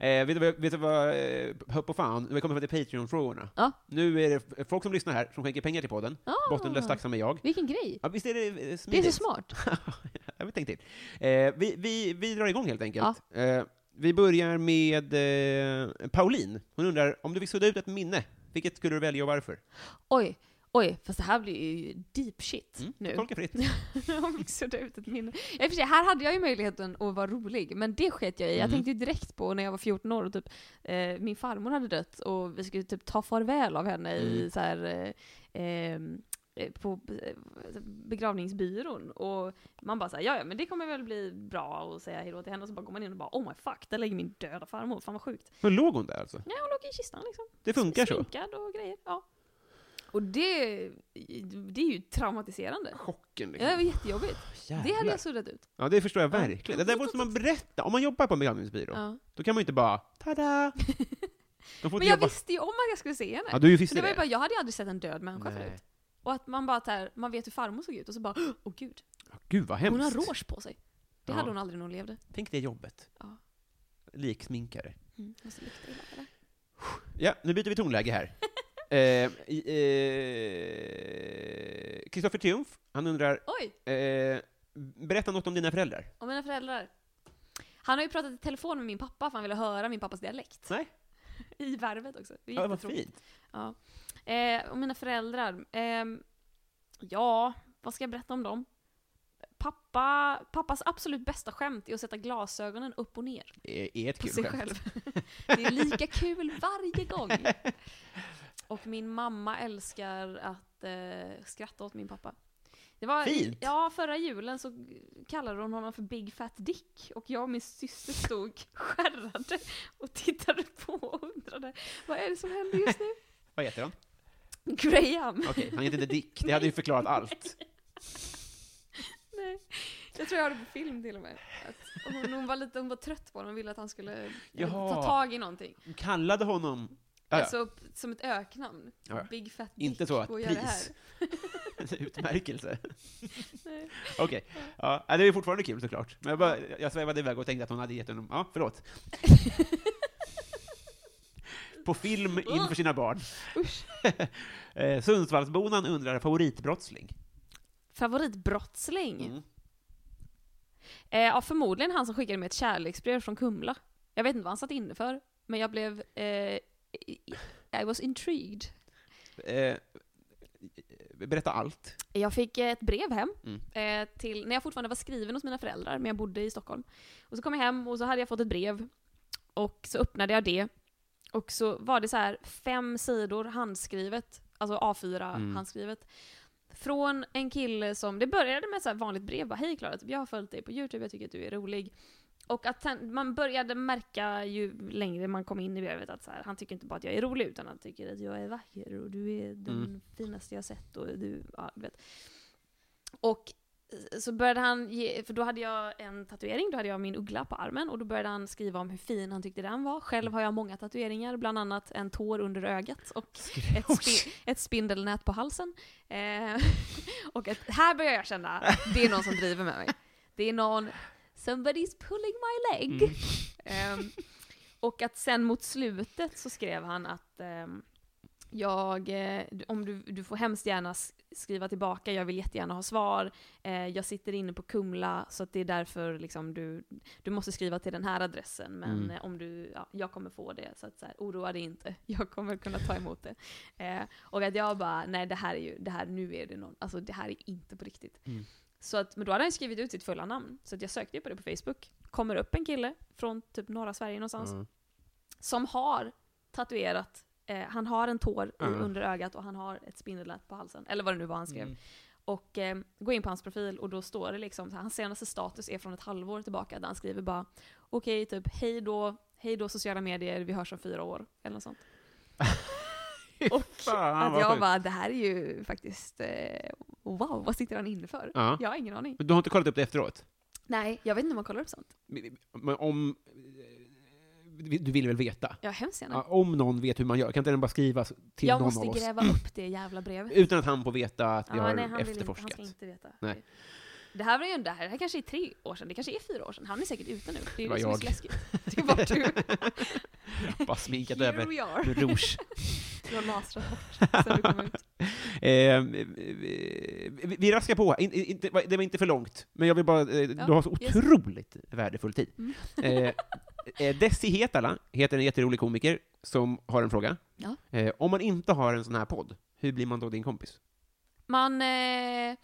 Eh, vet, du, vad- vet du vad, eh, hopp på fan, vi kommer fram till Patreon-frågorna.
Ja.
Nu är det f- folk som lyssnar här, som skänker pengar till podden.
Ah,
Bottenlöst tacksam är jag.
Vilken grej.
Ja, visst är det eh, smidigt?
Det är så smart.
jag vet inte till. Eh, vi, vi, vi drar igång helt enkelt. Eh, vi börjar med eh, Pauline. Hon undrar, om du fick sudda ut ett minne, vilket skulle du välja och varför?
Oj, oj, fast det här blir ju deep shit
Mm,
nu.
Tolka
*laughs*
fritt.
Om vi suddar ut ett minne. Ja, i och för sig, här hade jag ju möjligheten att vara rolig, men det sket jag i. Jag
Mm.
tänkte ju direkt på när jag var 14 år och typ, eh, min farmor hade dött och vi skulle typ ta farväl av henne
Mm.
i så här, eh, ehm, eh, på eh, begravningsbyrån. Och man bara såhär, ja ja men det kommer väl bli bra och säga hejdå till henne. Och så bara går man in och bara, oh my fuck, där ligger min döda farmor, fan vad sjukt.
Men låg hon där alltså?
Nej hon låg i kistan liksom.
Det funkar så?
Sminkad och grejer, ja. Och det, det är ju traumatiserande.
Chocken
Ja, det var
liksom.
jättejobbigt. Det hade
Jävlar.
jag suddat ut.
Ja, det förstår jag
Ja.
verkligen. Det där måste man berätta. Om man jobbar på en begravningsbyrå,
Ja.
då kan man ju inte bara
*laughs*
”tada”. De får
Men
inte
jag
jobba...
visste ju om att jag skulle se henne.
Ja, du
Så
visste
det
det.
var ju bara, jag hade ju aldrig sett en död människa
Nej.
förut. Och att man bara där, man vet hur farmor såg ut och så bara åh gud,
Gud vad hemskt.
hon har rouge på sig. Det
Ja.
hade hon aldrig när hon levde.
Tänk det jobbet.
Ja.
Liksminkare.
Mm, måste lukta illa, eller?
Ja, nu byter vi tonläge
*laughs*
här. Eh, i- eh, Kristoffer Triumf, han undrar,
Oj,
eh, berätta något om dina föräldrar.
och mina föräldrar. Han har ju pratat i telefon med min pappa för han ville höra min pappas dialekt.
Nej.
I värvet också. Det är
Ja, vad
jättetråkigt.
fint.
Ja. Eh, och mina föräldrar. ehm, ja, vad ska jag berätta om dem? Pappa, pappas absolut bästa skämt är att sätta glasögonen upp och ner
Det är ett
på
kul
sig
skämt.
själv. *laughs* Det är lika kul varje *laughs* gång. Och min mamma älskar att eh, skratta åt min pappa. Det var,
Fint.
Ja, förra julen så kallade hon honom för Big Fat Dick och jag och min syster stod skärrade och tittade på och undrade vad är det som händer just nu?
Vad heter han?
*laughs* Graham.
Okej, han heter inte Dick. Det hade ju förklarat
*laughs*
allt.
Nej. Jag tror jag har det på film till och med. Att hon, hon, var lite, hon var trött på honom och ville att han skulle eh,
Jaha.
ta tag i någonting.
Hon kallade honom... Ja, ja.
Alltså p- som ett öknamn.
Ja, ja.
Big Fat Dick.
Inte så att
gå och gör det här.
pris. *laughs* Utmärkelse.
Nej.
Okej. Ja, det är ju fortfarande kul såklart. Men jag, bara, jag svävade iväg och tänkte att hon hade gett honom... Ja,
*laughs*
förlåt. På film inför sina barn.
*laughs* Usch.
*laughs* Eh, Sundsvallsbonan undrar favoritbrottsling. Mm.
Favoritbrottsling? Eh, ja, förmodligen han som skickade mig ett kärleksbrev från Kumla. Jag vet inte vad han satt inne för, men jag blev... Eh, i- i- I was intrigued.
Eh, berätta allt.
Jag fick eh, ett brev hem,
Mm.
eh, till, när jag fortfarande var skriven hos mina föräldrar, men jag bodde i Stockholm. Och så kom jag hem och så hade jag fått ett brev. Och så öppnade jag det. Och så var det så här fem sidor handskrivet, alltså A4
Mm.
handskrivet. Från en kille som, det började med så här vanligt brev, bara hej Klara, typ, jag har följt dig på YouTube, jag tycker att du är rolig. Och att sen, man började märka ju längre man kom in i brevet att så här, han tycker inte bara att jag är rolig utan han tycker att jag är vacker och du är den
Mm.
finaste jag sett och du, ja, du vet. Och eh, så började han ge, för då hade jag en tatuering, då hade jag min uggla på armen och då började han skriva om hur fin han tyckte den var. Själv har jag många tatueringar, bland annat en tår under ögat och ett, spi- ett spindelnät på halsen. Eh, *laughs* och ett, här börjar jag känna, det är någon som driver med mig. Det är någon, somebody's pulling my leg. *laughs* Ehm, och att sen mot slutet så skrev han att ehm, jag, eh, du- om du, du får hemskt gärna s- skriva tillbaka, jag vill jättegärna ha svar. Eh, jag sitter inne på Kumla så att det är därför liksom du, du måste skriva till den här adressen. Men
Mm.
eh, om du, ja, jag kommer få det. Så att så här, oroa dig inte, *laughs* jag kommer kunna ta emot det. *laughs* Eh, och att jag bara, nej det här är ju, det här, nu är det någon, alltså det här är inte på riktigt.
Mm.
Så att, men då hade han skrivit ut sitt fulla namn. Så att jag sökte ju på det på Facebook. Kommer upp en kille från typ norra Sverige någonstans.
Mm.
Som har tatuerat, eh, han har en tår i
Mm. Mm.
under ögat och han har ett spindelnät på halsen. Eller vad det nu var han skrev. Och eh, gå in på hans profil och då står det liksom, så här, hans senaste status är från ett halvår tillbaka där han skriver bara okej typ hej då, hej då sociala medier, vi hörs om fyra år. Eller något sånt. och
Fan,
att
Ah, vad
jag
sjukt.
bara, det här är ju faktiskt, eh, wow, vad sitter han inne för?
Ja.
Jag har ingen aning.
Men du har inte kollat upp det efteråt?
Nej, jag vet inte om man kollar upp sånt.
Men om... eh, Du vill väl veta?
Jag hemskt gärna.
Ja, om någon vet hur man gör, kan inte den bara skrivas till
jag
någon
måste
av oss?
gräva upp det
*laughs*
jävla brevet.
Utan att han får veta att vi
Ja,
har
nej, han vill inte-
efterforskat.
han ska inte veta.
Nej.
Det här var ju det här, det här kanske är tre år sedan, det kanske är fyra år sedan. Han är säkert ute nu. Det är
var
ju det som är
jag. *laughs*
så läskigt. Det var du.
Bara sminkat
Here
över
we are.
med rouge.
Du har lasrat bort sen du kom ut.
Eh, vi, vi raskar på. In, in, inte- det var inte för långt, men jag vill bara... Eh, du har så
yes.
otroligt värdefull tid.
Mm.
Eh, eh, Desi Hetala heter en jätterolig komiker som har en fråga.
Ja.
Eh, om man inte har en sån här podd, hur blir man då din kompis?
Man, eh,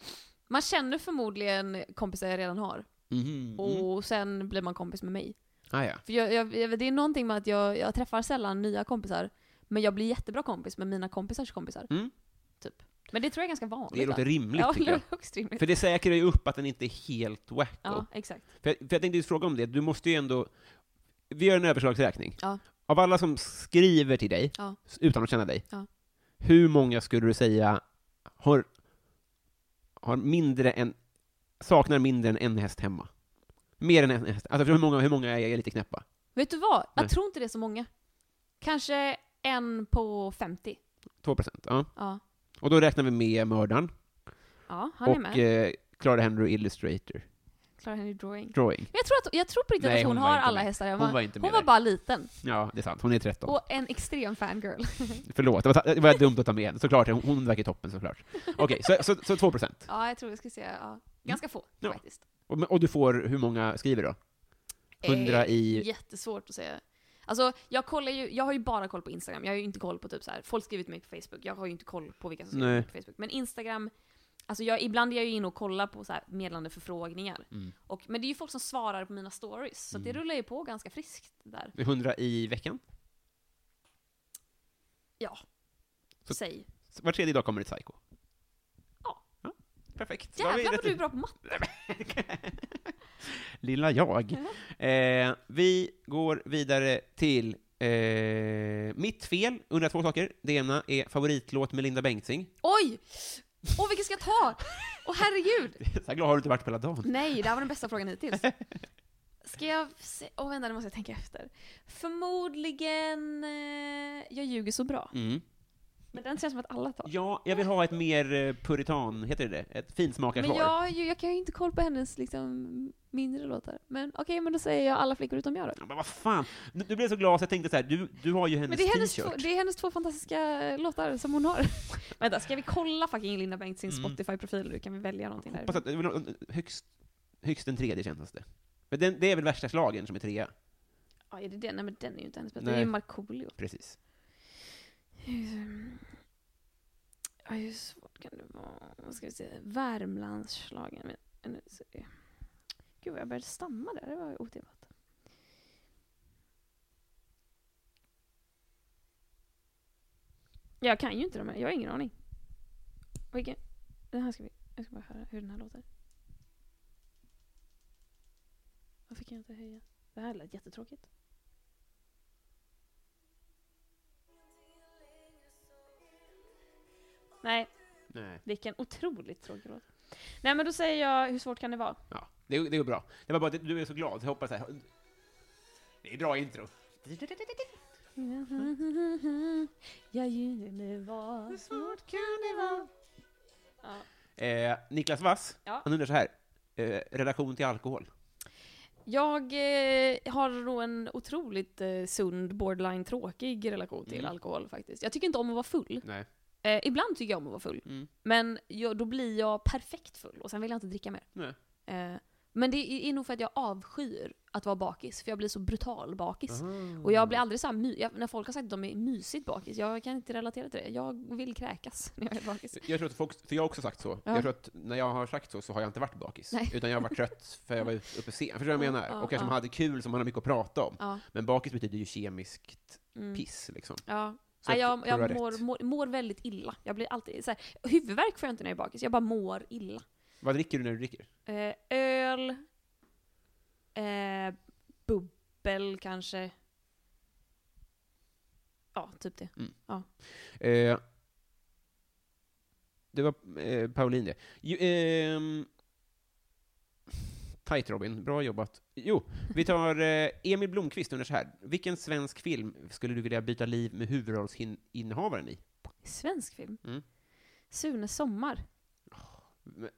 man känner förmodligen kompisar jag redan har.
Mhm.
Och sen blir man kompis med mig.
Ah, ja.
För jag, jag, jag, det är någonting med att jag, jag träffar sällan nya kompisar. Men jag blir jättebra kompis med mina kompisars kompisar.
Mm.
Typ. Men det tror jag är ganska vanligt.
Det låter rimligt,
ja,
tycker jag.
högst rimligt.
För det säkrar ju upp att den inte är helt wacko.
Ja, exakt.
För, jag- för jag tänkte just fråga om det, du måste ju ändå... Vi gör en överslagsräkning.
Ja.
Av alla som skriver till dig,
Ja.
s- utan att känna dig,
Ja.
hur många skulle du säga har, har mindre än, saknar mindre än en häst hemma? Mer än en häst? Alltså hur många, hur många är lite knäppa?
Vet du vad? Jag
Nej.
tror inte det är så många. Kanske en på 50.
2 procent. Ja.
Ja,
Och då räknar vi med mördaren
ja han är
och
med.
eh, Clara Henry Illustrator.
Clara Henry Drawing.
Drawing.
Men jag tror, att, jag tror på riktigt
Nej,
att hon,
hon var
har
inte
alla
med.
hästar hemma.
Hon var inte med
hon var
där.
bara liten.
Ja, det är sant. Hon är 13.
Och en
*laughs*
extrem fangirl.
Förlåt, det var, det var dumt att ta med henne. Såklart, hon, hon verkar toppen såklart.
*laughs*
Okej, så, så, så 2 procent.
Ja, jag tror jag ska säga ja. ganska få
Mm. Ja.
faktiskt.
Och, men- och du får, hur många skriver då?
Eh,
100 i-
Jättesvårt att säga. Alltså, jag, kollar ju, jag har ju bara koll på Instagram. Jag har ju inte koll på typ så här. folk skriver till mig på Facebook. Jag har ju inte koll på vilka som skriver till
Nej.
mig på Facebook. Men Instagram, alltså jag, ibland är jag ju inne och kollar på så här meddelande förfrågningar. Och, men det är ju folk som svarar på mina stories. Så det rullar ju på ganska friskt där.
100 i veckan?
Ja.
Så-
Säg.
Så Var tredje dag kommer ett psyko?
Ja.
perfekt. Då har vi
Jävlar
rätt
vad du är
ut.
bra på matte.
*laughs* Lilla jag.
Mm.
Eh, vi går vidare till eh, mitt fel, undrar två saker. Det ena är favoritlåt med Linda Bengtzing. *laughs*
Oj! Åh, vilken ska jag ta? Åh herregud!
Så här glad har du inte varit på hela dagen.
Nej, det här var den bästa
*laughs*
frågan hittills. Ska jag... se- Åh, vänta, nu måste jag tänka efter. Förmodligen... eh, Jag ljuger så bra.
Mm.
Men den känns som att alla tar.
Ja, jag vill ha ett mer eh, puritan, heter det det? Ett
Men
finsmakarsvar.
jag, har ju- jag kan ju inte koll på hennes liksom, mindre låtar. Men okej, men då säger jag alla flickor utom jag då.
Ja, Men vad fan, nu, nu blev jag så glad så jag tänkte så här, du, du har ju
Men
hennes,
det är, hennes två,
t-shirt.
det är hennes två fantastiska eh, låtar som hon har. *laughs* Vänta, ska vi kolla fucking Linda Bengtzings
Mm.
Spotify-profil nu? Kan vi välja någonting där?
Hoppas att, det var någon- högst, högst en tredje kändes det. Men den, det är väl värsta slagen som är trea?
Ja, är det den? Nej, men den är ju inte hennes bästa. Det är
Nej.
ju Markoolio.
Precis.
Ehm, Ja, hur svårt kan det vara? Vad ska vi se? Värmlandsschlagen. Men- men nu ska vi- Gud, vad jag började stamma där. Det var ju otippat. Jag kan ju inte de här. Jag har ingen aning. Vilken? Den här ska vi... Jag ska bara höra hur den här låter. Varför kan jag inte höja? Det här lät jättetråkigt. Nej,
Nej.
vilken otroligt tråkig låt. Nej men då säger jag, hur svårt kan det vara?
Ja, det, det går bra. Det var bara att du är så glad, så jag hoppas att... Det är bra intro.
Jag ljuger nu vad. Hur svårt kan det vara? Ja.
Eh, Niklas Wass,
Ja.
han undrar så här. Eh, relation till alkohol.
Jag eh, har nog en otroligt eh, sund, borderline tråkig relation till
Mm.
alkohol faktiskt. Jag tycker inte om att vara full.
Nej.
Eh, ibland tycker jag om att vara full.
Mm.
Men jag, då blir jag perfekt full och sen vill jag inte dricka mer.
Nej.
Eh, men det är är nog för att jag avskyr att vara bakis, för jag blir så brutal bakis. Och
Mm.
jag blir aldrig så här my- jag, när folk har sagt att de är mysigt bakis, jag kan inte relatera till det. Jag vill kräkas *laughs* när jag är bakis.
Jag tror att folk, för jag har också sagt så.
Ja.
Jag tror att när jag har sagt så, så har jag inte varit bakis.
Nej.
Utan jag har varit trött för jag var ute- uppe sent. Förstår du vad jag menar?
Ja,
och kanske
ja.
man hade kul som man har mycket att prata om.
Ja.
Men bakis betyder ju kemiskt
Mm.
piss, liksom.
Ja.
Så
Nej, jag
det var
jag
rätt.
mår, mår, mår väldigt illa. Jag blir alltid så här, huvudvärk får jag inte när jag är bakis, jag bara mår illa.
Vad dricker du när du dricker?
Eh, öl, eh, bubbel kanske. Ja, typ det.
Eh, det var eh, Pauline det. Ju, ehm, tight Robin, bra jobbat. Jo, vi tar eh, Emil Blomqvist undrar så här. Vilken svensk film skulle du vilja byta liv med huvudrollsinnehavaren i?
Svensk film.
Mm.
Sune Sommar.
då?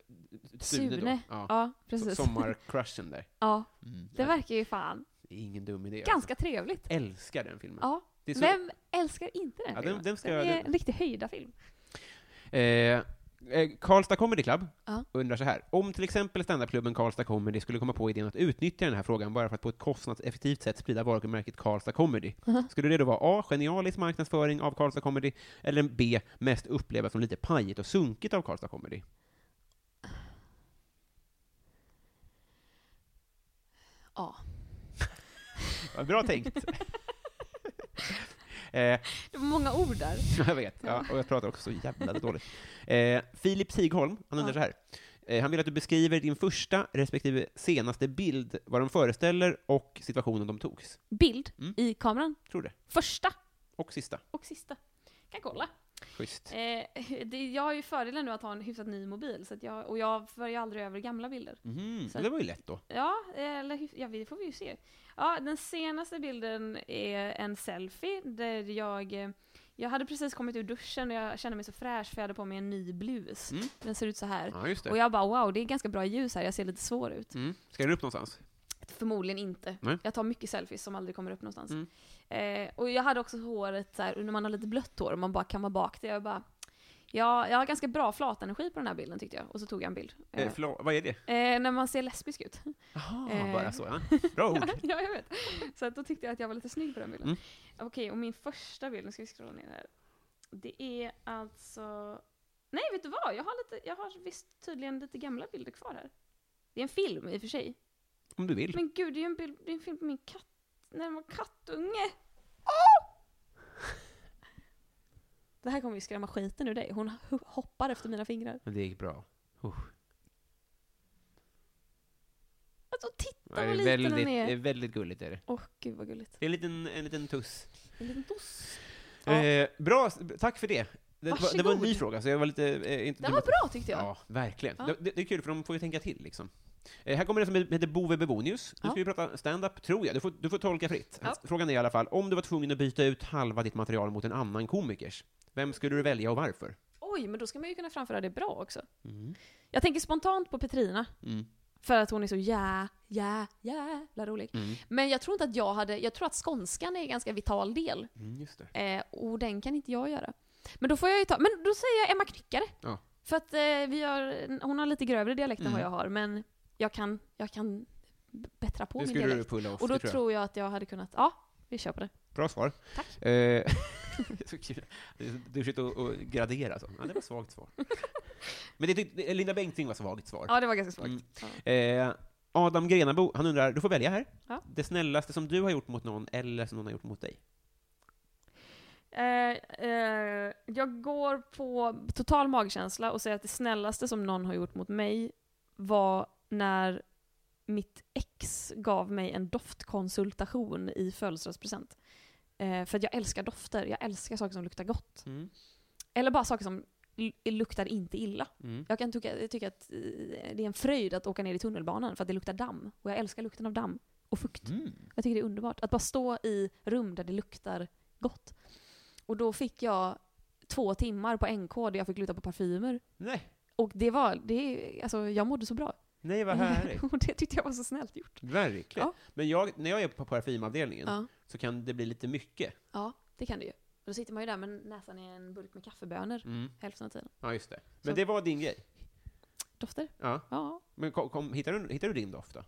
Sune. Ja,
Ja.
precis.
Sommarcrushen där.
Ja,
Mm.
det verkar ju fan
Det är ingen dum idé.
ganska trevligt.
Alltså. Älskar den filmen.
Ja.
Det är så-
Vem älskar inte
Ja,
den
den-
filmen?
den ska jag-
är en riktig höjdarfilm.
Eh, eh, Karlstad Comedy Club
Ja.
undrar så här. Om till exempel standupklubben Karlstad Comedy skulle komma på idén att utnyttja den här frågan bara för att på ett kostnadseffektivt sätt sprida varumärket Karlstad Comedy, skulle det då vara A. Genialisk marknadsföring av Karlstad Comedy, eller B. Mest upplevas som lite pajigt och sunkigt av Karlstad Comedy?
Ja.
Vad Bra tänkt! eh,
Det var många ord där.
*laughs* jag vet, ja, och jag pratar också så jävla dåligt. Eh, Filip Sigholm, han undrar
Ja.
så här. Eh, han vill att du beskriver din första respektive senaste bild, vad de föreställer och situationen de togs.
Bild
Mm.
i kameran.
Tror det.
Första
Och sista.
och sista. Kan kolla.
Schysst.
Eh, det, jag har ju fördelen nu att ha en hyfsat ny mobil, så att jag, och jag för ju aldrig över gamla bilder.
Mhm,
så-
Det var ju lätt då.
Ja, eller hyf- ja, det får vi ju se. Ja, den senaste bilden är en selfie där jag, eh, jag hade precis kommit ur duschen och jag kände mig så fräsch för jag hade på mig en ny blus.
Mm.
Den ser ut så här.
Ja, just
Och
det.
jag bara wow, det är ganska bra ljus här, jag ser lite svår ut.
Mm. Ska den upp någonstans?
Förmodligen inte.
Nej. Mm.
Jag tar mycket selfies som aldrig kommer upp någonstans. Eh, och jag hade också håret så här, när man har lite blött hår och man bara kammar bak det. Jag bara, ja, jag har ganska bra flatenergi på den här bilden tyckte jag. Och så tog jag en bild.
Eh, förlåt, vad är det?
eh, när man ser lesbisk ut. *laughs*
Jaha,
Eh.
bara så.
*laughs*
Ja. Bra ord.
ja, jag vet. Så att då tyckte jag att jag var lite snygg på den bilden.
Mm.
Okej, och min första bild, nu ska vi scrolla ner här. Det är alltså... Nej, vet du vad? Jag har, lite, jag har visst tydligen lite gamla bilder kvar här. Det är en film i och för sig.
Om du vill.
Men gud, det är ju en, bild, det är en film på min katt, när den var kattunge. Det här kommer ju skrämma skiten ur dig. Hon ho- hoppar efter mina fingrar.
Men det gick bra.
Alltså
Det
titta
är
vad liten
väldigt,
den
det är
är.
väldigt gulligt. Är det.
Åh gud vad gulligt.
det är en liten, en liten tuss.
En liten doss. Ja.
Eh, bra, s- tack för det. Det var, det var en ny
Varsågod.
fråga, så jag var lite... Eh, inte
Den
dum
var
att-
bra tyckte jag.
Ja, verkligen.
Ja.
Det- Det, det är kul, för de får ju tänka till liksom. Eh, här kommer det som heter Bove Bebonius. Nu
Ja.
ska vi prata stand-up, tror jag. Du får, du får tolka fritt.
Ja.
Frågan är i alla fall, om du var tvungen att byta ut halva ditt material mot en annan komikers, vem skulle du välja och varför?
Oj, men då ska man ju kunna framföra det bra också. Jag tänker spontant på Petrina.
Mm,
För att hon är så jä, jä, jävla rolig.
mm,
Men jag tror inte att jag hade, jag tror att skånskan är en ganska vital del.
mm, just det.
Eh, och den kan inte jag göra. Men då får jag ju ta, men då säger jag Emma Knyckare.
Ja.
För att eh, vi har, hon har lite grövre dialekt än
Mm.
vad jag har, men jag kan, jag kan b- bättra på
det
min
skulle du
dialekt.
pulla off,
Och då
det
tror jag.
jag.
att jag hade kunnat, ja, vi kör på det.
Bra svar. Eh, *laughs*
Tack.
det
*laughs*
är så kul. Det är så duschigt att att gradera så. Ja, det var ett svagt svar. Men det tyckte, Linda Bengtzing var ett svagt svar.
Ja, det var ganska svagt.
Mm.
Ja.
Eh, Adam Grenabo, han undrar, du får välja här.
Ja.
Det snällaste som du har gjort mot någon, eller som någon har gjort mot dig.
Eh, eh, jag går på total magkänsla och säger att det snällaste som någon har gjort mot mig var när mitt ex gav mig en doftkonsultation i födelsedagspresent. Eh, för att jag älskar dofter, jag älskar saker som luktar gott. Eller bara saker som l- luktar inte illa. Jag kan tycka, tycka att eh, det är en fröjd att åka ner i tunnelbanan för att det luktar damm. Och jag älskar lukten av damm och fukt.
Mm.
Jag tycker det är underbart. Att bara stå i rum där det luktar gott. Och då fick jag två timmar på NK där jag fick luta på parfymer.
Nej,
Och det var, det, alltså jag mådde så bra.
nej vad
*laughs*
härligt.
och det tyckte jag var så snällt gjort.
Verkligen.
Ja.
Men jag, när jag är på parfymavdelningen
Ja,
så kan det bli lite mycket.
ja det kan du ju. Och då sitter man ju där med näsan i en burk med kaffebönor
Mm.
hälften av tiden.
Ja, just det. Men
Så-
det var din grej.
Dofter?
Ja.
Ja.
Men kom, kom, hittar, du, hittar du din doft då?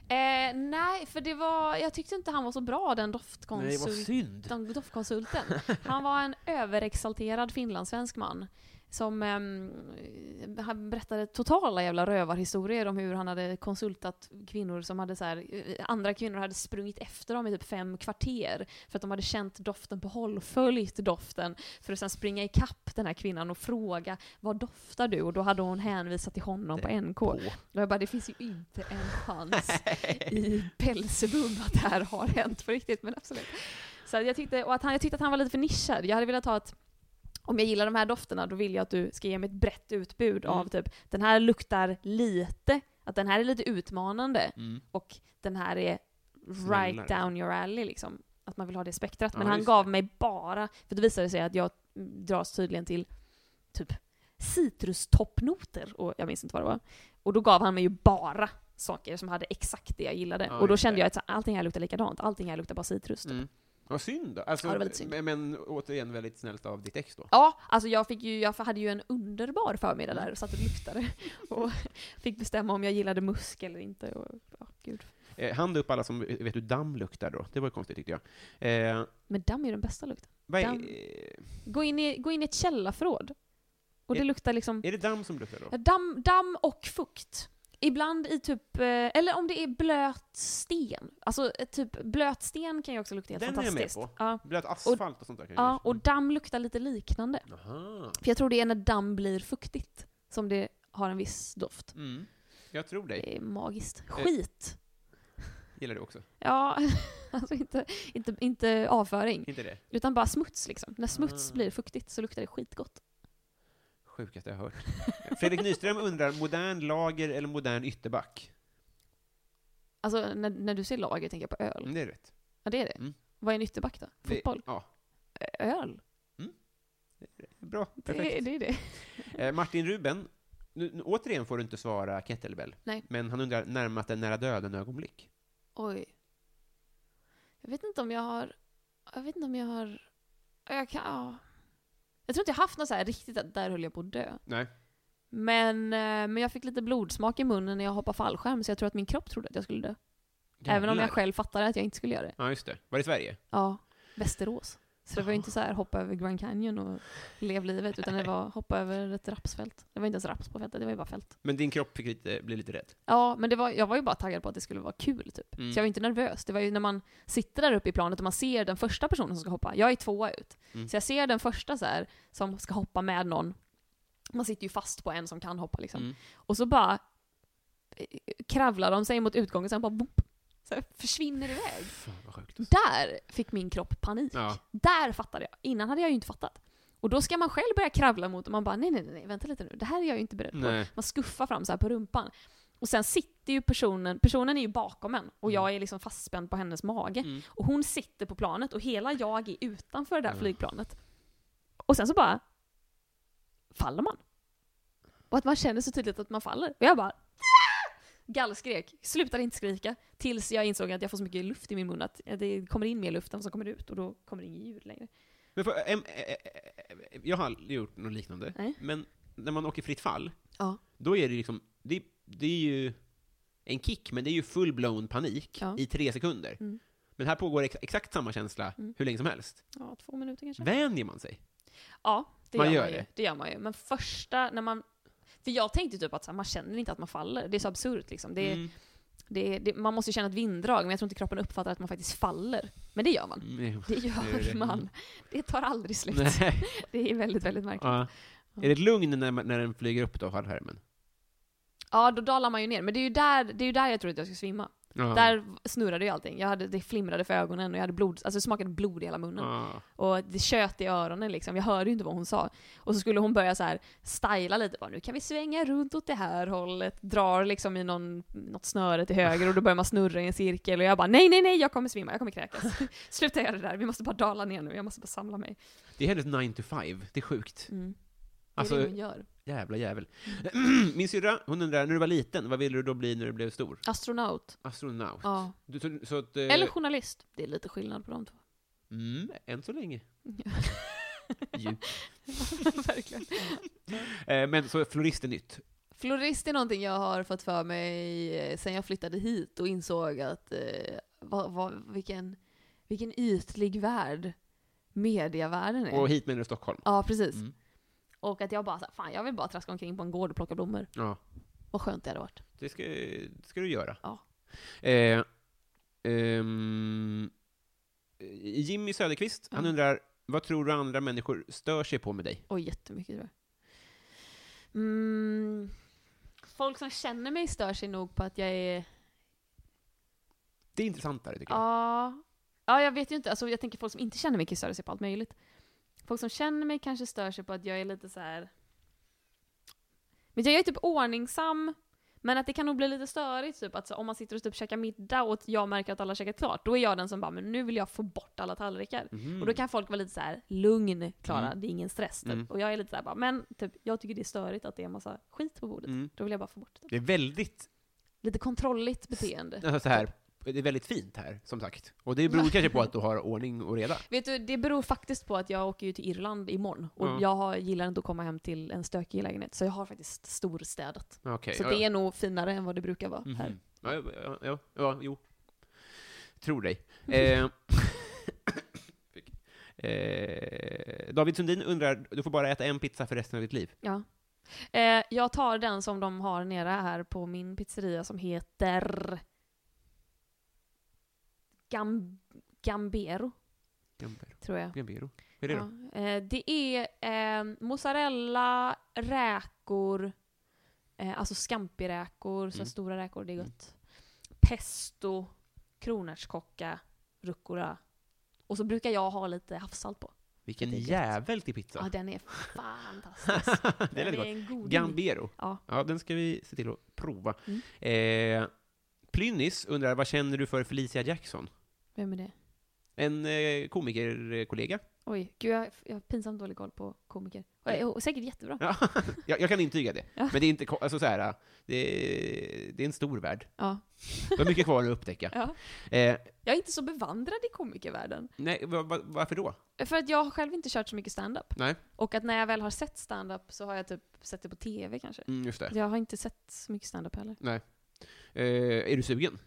Eh, nej, för det var, jag tyckte inte han var så bra den doftkonsult.
synd.
den doftkonsulten. Han var en överexalterad finlandssvensk man som ehm, han berättade totala jävla rövarhistorier om hur han hade konsultat kvinnor som hade så här, eh, andra kvinnor hade sprungit efter dem i typ fem kvarter för att de hade känt doften på håll, följt doften för att sen springa ikapp den här kvinnan och fråga vad doftar du? Och då hade hon hänvisat till honom på NK. Och jag bara, det finns ju inte en chans *laughs*
*laughs*
i Pelsedum att det här har hänt på riktigt, men absolut. Så jag tyckte, och att han, jag tyckte att han var lite för nischad. Jag hade velat ha ett om jag gillar de här dofterna då vill jag att du ska ge mig ett brett utbud av typ den här luktar lite, att den här är lite utmanande
Mm.
och den här är
Snällare.
right down your alley liksom. Att man vill ha det spektrat.
Ja,
Men han
just
gav mig bara, för det visade sig att jag dras tydligen till typ citrustoppnoter och jag minns inte vad det var. Och då gav han mig ju bara saker som hade exakt det jag gillade.
Ja,
och då
just
kände
det.
jag att så- allting här luktar likadant, allting här luktar bara citrus. typ.
Mm. Vad synd då. Alltså,
Ja, det var lite synd.
Men, men återigen väldigt snällt av ditt ex då.
Ja, alltså jag, fick ju, jag hade ju en underbar förmiddag där och satt och luktade. *laughs* Och fick bestämma om jag gillade musk eller inte. Och, ja, gud.
Eh, hand upp alla som vet hur damm luktar då. Det var ju konstigt tyckte jag. Eh,
Men damm är ju den bästa lukten.
vad är, eh,
Damm. Gå in i, gå in i ett källarförråd. Och det
Är-
luktar liksom
är det damm som luktar då?
ja, damm, damm och fukt. Ibland i typ, eh, eller om det är blöt sten. Alltså eh, typ blöt sten kan ju också lukta helt
Den är liksom- jag med
fantastiskt.
på.
Ja.
Blöt asfalt och, sånt där kan jag
ja, och damm luktar lite liknande.
Aha.
För jag tror det är när damm blir fuktigt som det har en viss doft.
Mm.
Jag tror dig. Eh.
Det är magiskt. Skit.
Gillar du också?
Ja, *laughs* alltså inte, inte, inte avföring.
Inte det?
Utan bara smuts liksom. När smuts
Ah.
blir fuktigt så luktar det skitgott.
Sjukaste jag hört. Fredrik Nyström undrar, modern lager eller modern ytterback?
Alltså när, när du säger lager tänker jag på öl.
Mm, det är rätt.
Ja det är det.
Mm.
Vad är en ytterback då?
Det-
Fotboll?
Ja.
Ö- Öl?
Bra,
Det, är-
perfekt.
det är det.
Eh, Martin Ruben, nu, nu, återigen får du inte svara kettlebell.
Nej.
Men han undrar närmast en nära döden-ögonblick.
Oj. Jag vet inte om jag har... Jag vet inte om jag har... Jag kan... Ja. Jag tror inte jag haft något så här riktigt att där höll jag på att dö.
Nej.
Men, eh, men jag fick lite blodsmak i munnen när jag hoppade fallskärm så jag tror att min kropp trodde att jag skulle dö. Även om
Jävlar.
jag själv fattade att jag inte skulle göra det.
Ja, just det. Var det i Sverige?
Ja, Västerås. Så det var ju inte så här hoppa över Grand Canyon och lev livet, utan det var hoppa över ett rapsfält. Det var inte ens raps på fältet, det var ju bara fält.
Men din kropp fick lite, bli lite rädd.
Ja, men det var, jag var ju bara taggad på att det skulle vara kul typ.
Mm.
Så jag var inte nervös. Det var ju när man sitter där uppe i planet och man ser den första personen som ska hoppa. Jag är tvåa ut.
Mm.
Så jag ser den första så här som ska hoppa med någon. Man sitter ju fast på en som kan hoppa liksom.
Mm.
Och så bara eh, kravlar de sig mot utgången och sen bara boop, så här försvinner iväg.
Fan, vad sjukt.
Där fick min kropp panik.
Ja.
Där fattade jag. Innan hade jag ju inte fattat. Och då ska man själv börja kravla mot och man bara nej, nej, nej, nej, vänta lite nu. Det här är jag ju inte beredd på.
Nej.
Man skuffar fram så här på rumpan. Och sen sitter ju personen, personen är ju bakom en och jag är liksom fastspänd på hennes mage.
Mm.
Och hon sitter på planet och hela jag är utanför det där flygplanet. Och sen så bara faller man. Och att man känner så tydligt att man faller. Och jag bara "Ah!" gallskrek, slutade inte skrika. Tills jag insåg att jag får så mycket luft i min mun att det kommer in mer luft än som kommer ut och då kommer det inget ljud längre.
Men för, em, eh, eh, eh, jag har aldrig gjort något liknande,
Nej.
men när man åker fritt fall,
Ja.
då är det liksom, det, det är ju en kick, men det är ju full-blown panik
Ja.
i tre sekunder.
Mm.
Men här pågår ex, exakt samma känsla
Mm.
hur länge som helst.
Ja, två minuter kanske.
Vänjer man sig?
Ja, det
Man
gör,
gör
man ju.
det.
Det. gör man ju. Men första, när man... För jag tänkte typ att så här, man känner inte att man faller. Det är så absurt liksom. Det,
Mm.
det, det, man måste ju känna ett vinddrag, men jag tror inte kroppen uppfattar att man faktiskt faller. Men det gör man.
Mm.
Det
Det är
gör
det.
man. Det tar aldrig slut.
*laughs* Nej.
Det är väldigt, väldigt märkligt. Ja.
Ja. Är det ett lugn när, man- när den flyger upp då, fallskärmen?
då dalar man ju ner. Men det är ju där, det är ju där jag trodde att jag skulle svimma.
Ja.
Där snurrade ju allting. Jag hade, det flimrade för ögonen och jag hade blod, alltså det smakade blod i hela munnen.
Ja.
Och det tjöt i öronen liksom. Jag hörde ju inte vad hon sa. Och så skulle hon börja så här styla lite. Bara, nu kan vi svänga runt åt det här hållet. Drar liksom i någon, något snöre till höger och då börjar man snurra i en cirkel. Och jag bara nej, nej, nej, jag kommer svimma, jag kommer kräkas. *laughs* Sluta göra det där, vi måste bara dala ner nu, jag måste bara samla mig.
Det är hennes 9 to 5, det är sjukt.
Mm. Det är
Alltså,
det hon gör.
jävla jävel. *clears throat* Min syrra, hon undrar, när du var liten, vad ville du då bli när du blev stor?
Astronaut.
Astronaut.
Ja.
Du, så, så att, eh,
Eller journalist. Det är lite skillnad på de två.
Mm, än så länge. *laughs* Ju.
*laughs* Verkligen.
Eh, Men så florist är nytt.
Florist är någonting jag har fått för mig eh, sen jag flyttade hit och insåg att eh, vad, vad, vilken, vilken ytlig värld medievärlden är.
Och hit menar du Stockholm.
Ja, precis.
Mm.
Och att jag bara så här, fan jag vill bara traska omkring på en gård och plocka blommor.
Ja,
Vad skönt det hade varit.
det ska, det ska du göra.
Ja.
Eh, ehm, eh, Jimmy Söderqvist, han
Ja.
undrar, vad tror du andra människor stör sig på med dig?
Oj, jättemycket tror jag. Mm, folk som känner mig stör sig nog på att jag är...
Det är intressantare, tycker jag.
Ja, ja jag vet ju inte. Alltså, jag tänker folk som inte känner mig kan störa sig på allt möjligt. Folk som känner mig kanske stör sig på att jag är lite så här. Men jag är typ ordningsam. Men att det kan nog bli lite störigt typ att så, om man sitter och typ käkar middag och jag märker att alla käkat klart, då är jag den som bara men nu vill jag få bort alla tallrikar. Och då kan folk vara lite så här: lugn Klara,
Mhm. Mm.
det är ingen stress typ.
Mm.
Och jag är lite så här, bara, men typ, jag tycker det är störigt att det är en massa skit på bordet.
Mm.
Då vill jag bara få bort det.
Det är väldigt
Lite kontrolligt beteende.
Alltså så här, det är väldigt fint här, som sagt. Och det beror kanske på att du har ordning och reda.
Vet du, det beror faktiskt på att jag åker ju till Irland imorgon. Och
Ja.
jag har, gillar inte att komma hem till en stökig lägenhet. Så jag har faktiskt storstädat.
Okej.
*laughs* så
ja,
det
ja.
är nog finare än vad det brukar vara här.
Mhm. Ja, ja, ja, ja, ja, jo. Tror
*laughs*
dig. Eh, fick- eh, David Sundin undrar, du får bara äta en pizza för resten av ditt liv.
Ja. Eh, jag tar den som de har nere här på min pizzeria som heter... Gam... Gambero,
Gambero.
tror jag.
Gambero. Hur är det då?
Ja. Eh, det är eh, mozzarella, räkor, eh, alltså scampiräkor, så här
Mm.
stora räkor, det är
Mm.
gott. Pesto, kronärtskocka, rucola. Och så brukar jag ha lite havssalt på.
Vilken
det är gött.
jävel till
Ja,
pizza.
den är fantastisk.
*laughs* det
den
lät
är
gott.
en god
Gambero.
Ja.
Ja, den ska vi se till att prova.
Mm.
Eh, Plynnis undrar, vad känner du för Felicia Jackson?
Vem är det?
En eh, komikerkollega. *laughs*
Oj, gud jag, jag har pinsamt dålig koll på komiker. Och, jag- och säkert jättebra.
Ja, jag, jag kan intyga det.
Ja.
Men det är inte, ko- alltså så här, det, är- det är en stor värld.
Ja.
Det har mycket kvar att upptäcka.
Ja.
Eh,
Jag är inte så bevandrad i komikervärlden.
nej, va, va, varför då?
För att jag har själv inte kört så mycket stand-up.
Nej.
Och att när jag väl har sett stand-up så har jag typ sett det på TV kanske.
Mm, just det.
Jag har inte sett så mycket stand-up heller.
Eh, är du sugen?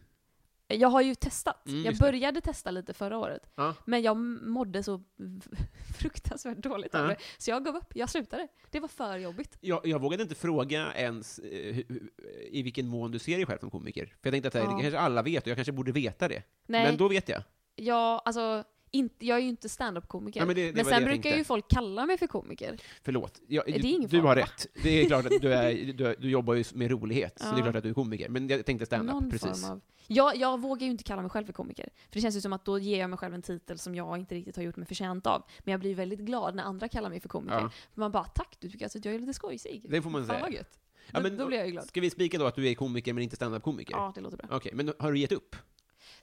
Jag har ju testat.
Mm,
jag
just det.
började testa lite förra året.
Ja.
Men jag mådde så *laughs* fruktansvärt dåligt av
Ja.
det. Så jag gav upp. Jag slutade. Det var för jobbigt.
Jag, jag vågade inte fråga ens eh, hu- hu- i vilken mån du ser dig själv som komiker. För jag tänkte att det här,
Ja.
det kanske alla vet, och jag kanske borde veta det.
Nej,
Men då vet jag.
jag, alltså, inte, jag är ju inte stand-up-komiker.
Ja, men det- det var det
sen
jag
brukar
tänkte.
ju folk kalla mig för komiker.
Förlåt. Jag,
Det är
du-
ingen
du
fara.
har rätt. Det är klart att du, är, du, du jobbar ju med rolighet, så det är
Ja.
klart att du är komiker. Men jag tänkte
Någon
stand-up, precis.
form av... Jag, jag vågar ju inte kalla mig själv för komiker. För det känns ju som att då ger jag mig själv en titel som jag inte riktigt har gjort mig förtjänt av. Men jag blir väldigt glad när andra kallar mig för komiker.
Ja.
För man bara, tack du tycker alltså att jag är lite skojsig.
Det får man
Fan
säga.
vad gött. Då, då blir jag ju glad.
Ska vi spika då att du är komiker men inte stand-up-komiker?
Ja, det låter bra.
Okej, men har du gett upp?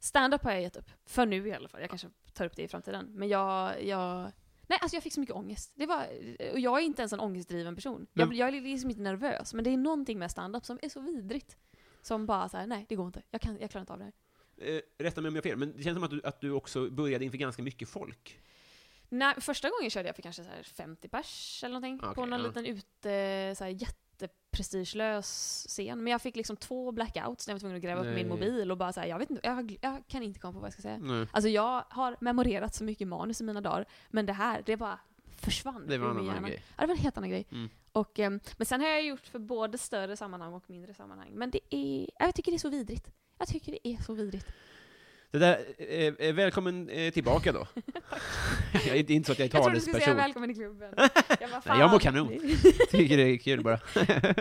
Stand-up har jag gett upp. För nu i alla fall. Jag kanske tar upp det i framtiden. Men jag... jag... Nej, alltså jag fick så mycket ångest. Det var, och jag är inte ens en ångestdriven person. Jag,
Men-
blir- jag är liksom inte nervös, men det är någonting med stand-up som är så vidrigt. Som bara så här, nej det går inte. Jag, kan, jag klarar inte av det här.
Eh, rätta mig om jag har fel, men det känns som att du, att du också började inför ganska mycket folk.
Nej, första gången körde jag för kanske så här 50 pers eller någonting.
Ah, Okej,
på någon
ja.
liten ute, så här jätteprestigelös scen. Men jag fick liksom två blackouts när jag var tvungen att gräva upp
Nej.
min mobil och bara så här, jag vet inte, jag, har gl- jag kan inte komma på vad jag ska säga.
Nej.
Alltså jag har memorerat så mycket manus i mina dagar, men det här, det bara försvann
Det var
ur
en
min
annan
hjärna.
grej.
Ja, det var en helt annan grej.
Mm.
Och, ehm, men sen har jag gjort för både större sammanhang och mindre sammanhang. Men det är, ja, jag tycker det är så vidrigt. Jag tycker det är så vidrigt.
Det där, eh, eh, välkommen eh, tillbaka *laughs* då. jag, är- det är inte så att jag är
Jag trodde du skulle säga
talesperson.
välkommen i klubben.
*laughs*
Jag, bara,
Nej, jag mår
fan.
kanon. Tycker det är kul bara.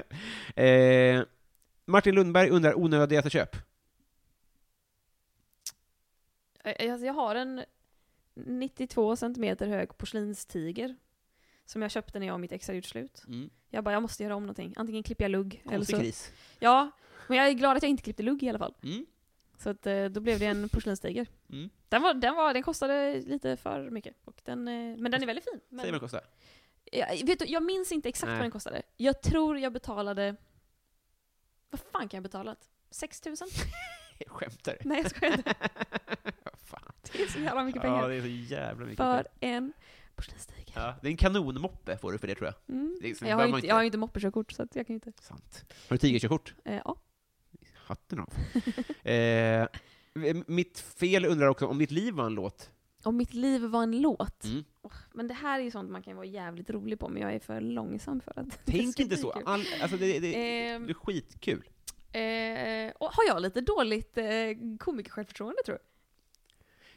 *laughs* eh, Martin Lundberg undrar onödiga köp.
Eh, Alltså jag har en 92 centimeter hög porslinstiger. Som jag köpte när jag och mitt ex hade gjort slut.
Mm.
Jag bara, jag måste göra om någonting. Antingen klipper jag lugg eller
Konstig
så...
kris.
Ja, men jag är glad att jag inte klippte lugg i alla fall.
Mm.
Så att, eh, då blev det en porslinstiger.
Mm.
Den, var, den, var, den kostade lite för mycket. Och den, eh, men den är väldigt fin.
Säg vad det
Men,
kostar. *laughs*
jag, vet du, jag minns inte exakt
Nej.
vad den kostade. Jag tror jag betalade... Vad fan kan jag ha betalat? 6 000?
Jag skämtar.
Nej jag skojar
*laughs*
inte.
Fan.
*laughs* Det är så jävla mycket
Ja,
pengar.
det är så jävla mycket
för
pengar.
en porslinstiger.
Ja, det är en kanonmoppe får du för det tror jag.
Mm.
Det är liksom- behöver
jag, har ju
man
inte,
inte.
jag har ju inte moppekörkort så att jag kan ju inte.
Sant. Har du tigerkörkort?
Eh, ja.
Hatten
*laughs*
av. eh, mitt fel undrar också om ditt liv var en låt.
Om mitt liv var en låt.
Mm.
Åh, åh, men det här är ju sånt man kan vara jävligt rolig på, men jag är för långsam för att det
Tänk
ska
inte
bli
så.
kul.
All, alltså det, det,
Ehm.
det är skitkul.
Eh, och har jag lite dåligt eh, komiker-självförtroende tror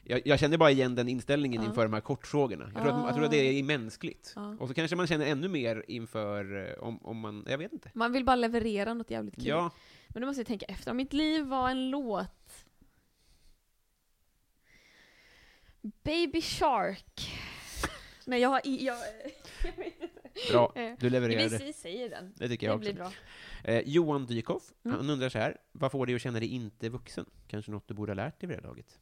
Jag, jag kände bara igen den inställningen
Ja.
inför de här kortfrågorna. Jag tror, att, jag tror att det är mänskligt.
Ja.
Och så kanske man känner ännu mer inför, eh, om, om man, jag vet inte.
Man vill bara leverera något jävligt kul.
Ja,
Men då måste jag tänka efter. Om mitt liv var en låt... Baby Shark. Nej, jag har... i- Jag, jag vet inte.
bra.
*laughs* Eh,
Du levererade.
Vi säger den.
Det tycker
Det
jag
blir
också.
bra.
Eh, Johan Dykhoff,
Mm.
han undrar så här. Vad får dig att känna dig inte vuxen? Kanske något du borde ha lärt dig vid det här laget?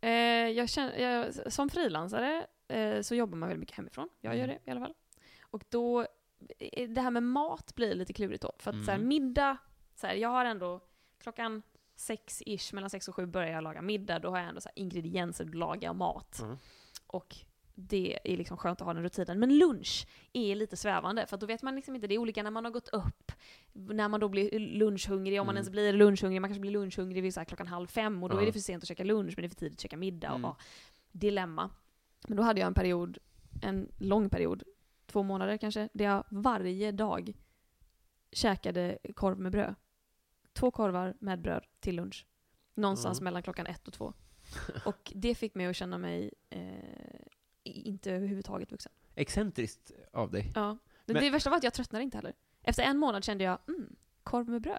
Eh, jag känner, jag, som frilansare eh, så jobbar man väldigt mycket hemifrån. Jag
Mm.
gör det i alla fall. Och då, eh, det här med mat blir lite klurigt då. För att så här,
Mm.
middag, så här, jag har ändå klockan sex-ish, mellan sex och sju börjar jag laga middag. Då har jag ändå så här, ingredienser, då lagar jag mat.
Mm.
Och det är liksom skönt att ha den rutinen. Men lunch är lite svävande, för att då vet man liksom inte. Det är olika när man har gått upp, när man då blir lunchhungrig, om man
Mm.
ens blir lunchhungrig. Man kanske blir lunchhungrig vid så här klockan halv fem och då
Ja.
är det för sent att käka lunch men det är för tidigt att käka middag. Och,
Mm.
ja, dilemma. Men då hade jag en period, en lång period, två månader kanske, där jag varje dag käkade korv med bröd. Två korvar med bröd till lunch. Någonstans
Ja.
mellan klockan ett och
*laughs*
två. Och det fick mig att känna mig eh, inte överhuvudtaget vuxen.
Excentriskt av dig.
Ja. Men,
Men-
det värsta var att jag tröttnade inte heller. Efter en månad kände jag, mm, korv med bröd.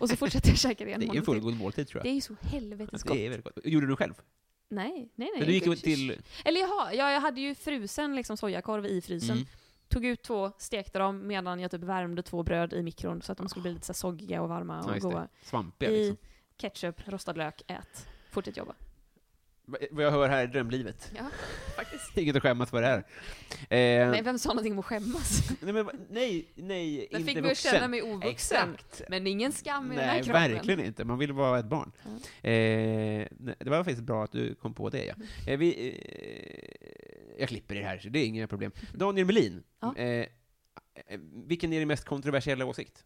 Och så fortsatte jag käka det en
Det är en
månad till.
fullgod måltid tror
Det
jag.
är ju så helvetes gott.
Det är väldigt gott. Gjorde du själv?
Nej, nej, nej.
Men du gick ju
inte.
till...
Eller jaha, jag, jag hade ju frusen liksom sojakorv i frysen.
Mm.
Tog ut två, stekte dem medan jag typ värmde två bröd i mikron så att de skulle bli lite så här soggiga och varma
Ah. Ja,
och
just det.
goda.
Svampiga
I
liksom.
ketchup, rostad lök, ät. Fortsätt jobba.
Va- Vad jag hör här är drömlivet.
Ja, faktiskt.
Inget att skämmas för det här. Eh,
Nej, vem sa någonting om
*laughs*
att skämmas?
nej, men, va- nej, nej,
Den
inte
fick mig att känna mig ovuxen.
Exakt.
Men ingen skam i den här
Nej,
kroppen. Mm.
verkligen inte. Man vill vara ett barn. Eh, nej, det var faktiskt bra att du kom på det, ja.
Mm.
Eh, vi, eh, jag klipper det här, så det är inga problem. Daniel Melin,
Mm. Ja.
eh, eh, vilken är din mest kontroversiella åsikt?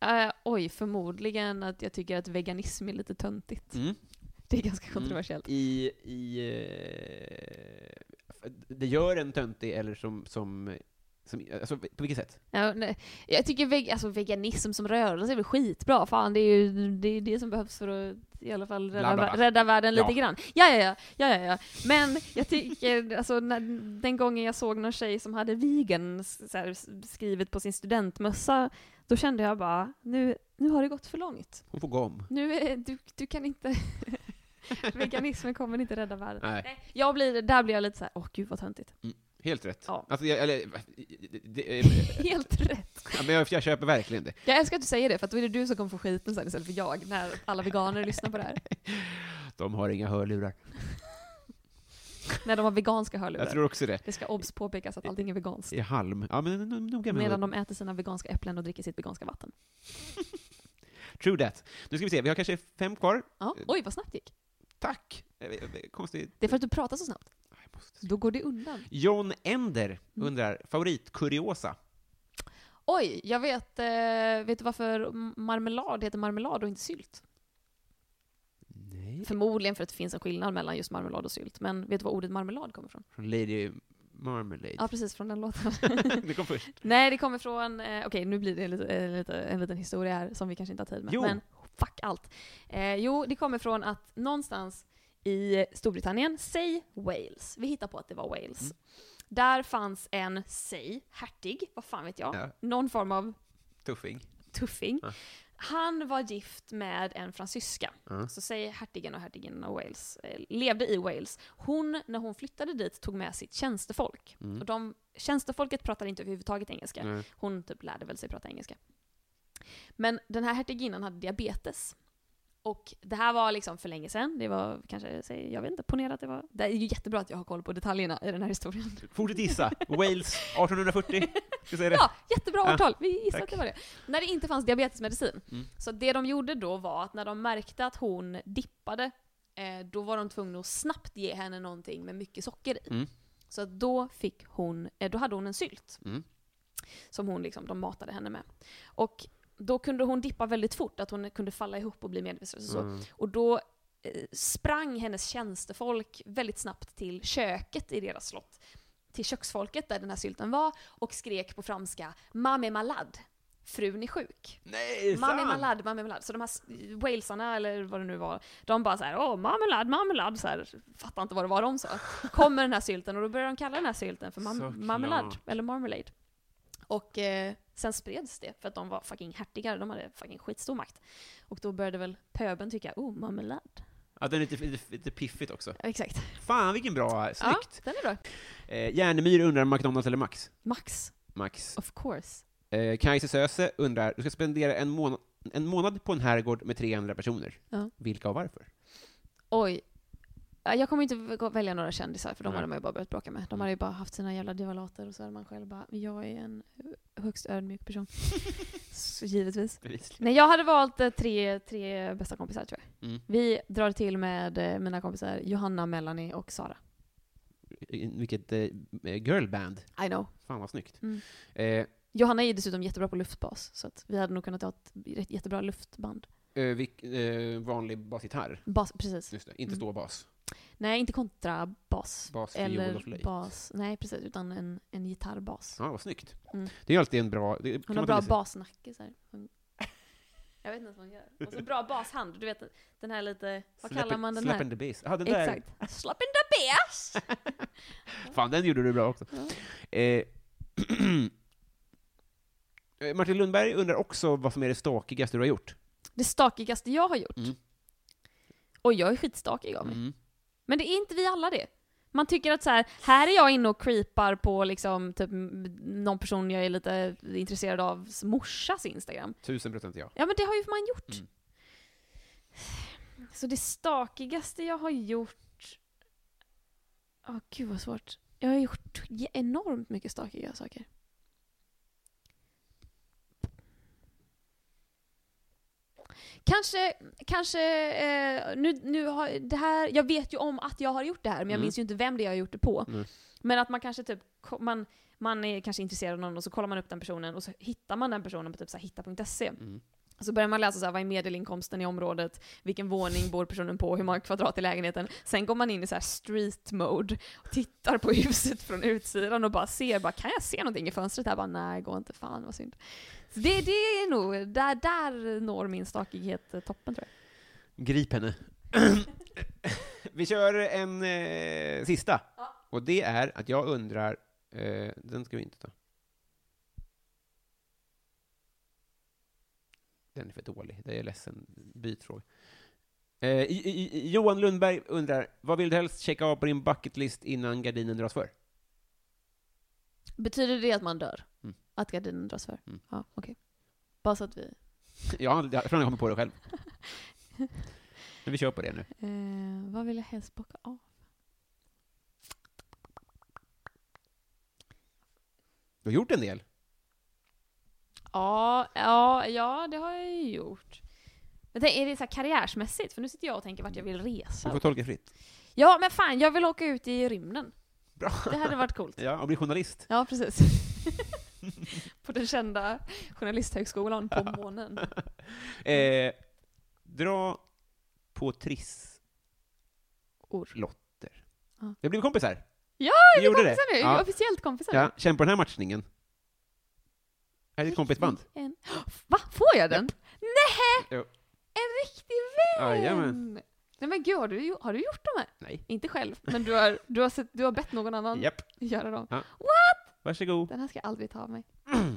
Eh, oj, förmodligen att jag tycker att veganism är lite töntigt.
Mm.
Det är ganska kontroversiellt.
I, i eh, det gör en töntig, eller som, som, som alltså, på vilket sätt?
Ja, nej. Jag tycker veg alltså, veganism som rörelse är väl skitbra. Fan, det är ju det, är det som behövs för att i alla fall rädda,
Bla, bla, bla.
vär- rädda världen
Ja.
lite grann. Ja, ja, ja, ja, ja, ja. Men jag tycker, *laughs* alltså, när, den gången jag såg någon tjej som hade vegan s- så här, s- skrivet på sin studentmössa, då kände jag bara, nu, nu har det gått för långt.
Hon får gå om.
Nu är, du, du kan inte... *laughs* Veganismen kommer inte rädda världen.
Nej.
Jag blir, där blir jag lite så här, åh gud vad töntigt.
Helt rätt.
Ja.
Alltså, jag, eller, va- det,
*laughs*
det,
Helt rätt.
ja, men jag, jag köper verkligen det.
Jag älskar att du säger det, för att då är det du som kommer få skiten sen istället för jag, när alla veganer lyssnar på det här.
De har inga hörlurar.
När de har veganska hörlurar.
Jag tror också det.
Det ska obs påpekas att allting är veganskt.
I halm. Ja, men no- noga med
Medan de äter sina veganska äpplen och dricker sitt veganska vatten.
True that. Nu ska vi se, vi har kanske fem kvar.
Ja. Oj, vad snabbt det gick.
Tack! Eh, eh, Konstigt.
Det är för att du pratar så snabbt.
Ah, jag måste-
Då går det undan.
John Ender
Mm.
undrar, favoritkuriosa?
Oj, jag vet. Eh, vet du varför marmelad heter marmelad och inte sylt?
Nej.
Förmodligen för att det finns en skillnad mellan just marmelad och sylt. Men vet du var ordet marmelad kommer ifrån?
Från Lady Marmalade.
Ja, precis. Från den låten.
*laughs* det kom först.
*laughs* Nej, det kommer från... Eh, Okej, nu blir det lite, eh, lite, en liten historia här som vi kanske inte har tid med.
Jo.
Men fuck allt. Eh, jo, det kommer från att någonstans i Storbritannien, säg Wales, vi hittar på att det var Wales. Där fanns en, säg, hertig, vad fan vet jag,
Ja.
någon form av
Tuffing.
tuffing.
Ja.
Han var gift med en fransyska.
Ja.
Så säger hertigen och hertigen av Wales, eh, levde i Wales. Hon, när hon flyttade dit, tog med sitt tjänstefolk. Och de, tjänstefolket pratade inte överhuvudtaget engelska.
Mm. Nej.
Hon typ lärde väl sig prata engelska. Men den här hertiginnan hade diabetes. Och det här var liksom för länge sedan. Det var kanske, säg, jag vet inte, ponera att det var... Det är ju jättebra att jag har koll på detaljerna i den här historien.
Fortsätt gissa. Wales 1840. Ska säga det?
Ja, jättebra
Ja,
årtal. Vi gissar att
tack. Mm.
det var det. När det inte fanns diabetesmedicin. Så det de gjorde då var att när de märkte att hon dippade, eh, då var de tvungna att snabbt ge henne någonting med mycket socker i.
Mm.
Så att då, fick hon, eh, då hade hon en sylt.
Mm.
Som hon liksom, de matade henne med.
Mm.
Och då kunde hon dippa väldigt fort, att hon kunde falla ihop och bli medvetslös och så. Och då eh, sprang hennes tjänstefolk väldigt snabbt till köket i deras slott. Till köksfolket där den här sylten var och skrek på franska “Mame malad”, frun är sjuk.
Nej,
Mame
sant!
malad, mame malad. Så de här s- walesarna, eller vad det nu var, de bara såhär “Åh, mame malad, mame malad”, så här, fattar inte vad det var de sa. Kommer den här sylten och då börjar de kalla den här sylten för
Såklart.
mam- marmelad, eller marmalade. Och eh, sen spreds det för att de var fucking hertigar, de hade fucking skitstor makt. Och då började väl pöben tycka “Oh, marmelad”.
Ja, den är lite, lite, lite piffigt också.
Ja, exakt.
Fan vilken bra, snyggt!
Ja, den är bra.
Eh, Järnemyr undrar McDonalds eller Max?
Max,
Max.
of course.
Eh, Kajsa Söse undrar, du ska spendera en, månad, en månad på en herrgård med 300 personer.
Ja.
Vilka och varför?
Oj. Ja, Jag kommer inte v- välja några kändisar för de
Nej.
hade man ju bara börjat bråka med. De hade ju bara haft sina jävla divalater och så hade man själv bara “Jag är en eh, högst ödmjuk person”. så givetvis.
Bevisligen.
Nej, jag hade valt eh, tre, tre bästa kompisar tror jag.
Mm.
Vi drar till med eh, mina kompisar Johanna, Melanie och Sara.
Eh, Vilket eh, girlband.
I know.
Fan vad snyggt.
Mm.
Eh,
Johanna är ju dessutom jättebra på luftbas, så att vi hade nog kunnat ha ett rätt- jättebra luftband.
eh, vilk, eh, vanlig basgitarr.
Bas, precis.
Just det, inte
Mm.
ståbas.
Nej, inte kontrabas.
Bas, fiol och
Eller
flöjt.
bas. Nej, precis. Utan en, en gitarrbas.
Ja, vad snyggt.
Mm.
Det är ju alltid en bra... Det, kan
Hon har
man ta
bra
med sig.
basnacke så här. Hon... Jag vet inte vad hon gör. Och så bra bashand. Du vet den här lite, vad
Slap
kallar
it-
man den
slap
här?
in the bass. Ah, den där.
Exakt. Slap in the bass!
Fan, den gjorde du bra också. Eh, *clears throat* eh, Martin Lundberg undrar också vad som är det stakigaste du har gjort.
Det stakigaste jag har gjort.
Mm.
Och jag är skitstakig av mig. Men det är inte vi alla det. Man tycker att så här, här är jag inne och creepar på liksom typ m- någon person jag är lite intresserad av morsas instagram.
Tusen procent ja.
Ja men det har ju man gjort.
Mm.
Så det stakigaste jag har gjort... Ja, gud vad svårt. Jag har gjort je- enormt mycket stakiga saker. Kanske, kanske, eh, nu, nu har det här, jag vet ju om att jag har gjort det här men jag
Mm.
minns ju inte vem det är jag har gjort det på.
Nej.
Men att man kanske typ, ko- man, man är kanske intresserad av någon och så kollar man upp den personen och så hittar man den personen på typ så här, hitta.se.
Mm.
Så börjar man läsa så här, vad är medelinkomsten i området, vilken våning bor personen på, hur många kvadrat i lägenheten. Sen går man in i så här street mode, och tittar på huset från utsidan och bara ser, bara, kan jag se någonting i fönstret här? Bara, Nej, går inte, fan vad synd. Så det, det är nog, där, där når min stakighet eh, toppen tror jag.
Grip henne. *clears throat* Vi kör en eh, sista. Och det är att jag undrar, eh, den ska vi inte ta. Den är för dålig, det är jag ledsen. Byt fråga. Eh, i, i, i- Johan Lundberg undrar, vad vill du helst checka av på din bucketlist innan gardinen dras för?
Betyder det att man dör?
Mm.
Att gardinen dras för?
Mm.
Ja, okej. Bara så att vi...
Jag har aldrig- jag tror jag kommer på det själv. Men vi kör på det nu.
Eh, vad vill jag helst bocka av?
Du har gjort en del.
Ja, ja, ja, det har jag ju gjort. Men tänk, är det så här karriärsmässigt? För nu sitter jag och tänker vart jag vill
Mm. Du får
resa.
tolka fritt.
Ja, men fan, jag vill åka ut i rymden.
Bra.
Det hade varit coolt.
Ja, och bli journalist.
Ja, precis. på den kända journalisthögskolan på månen.
Eh, dra på trisslotter.
Or. Ja.
Vi har blivit kompisar.
Ja,
Vi
vi är
gjorde
kompisar
det.
nu.
Ja.
Officiellt kompisar.
Ja, känn på den här matchningen. Här är ditt kompisband.
En... Va? Får jag den? Nej!
Jo.
En riktig vän!
Jajamän.
Nej men gud, har du, ju- har du gjort de här?
Nej.
Inte själv, men du har, du har, sett, du har bett någon annan
Japp.
göra dem.
Ja.
What?
Varsågod. *clears throat*
Den här ska jag aldrig ta av mig.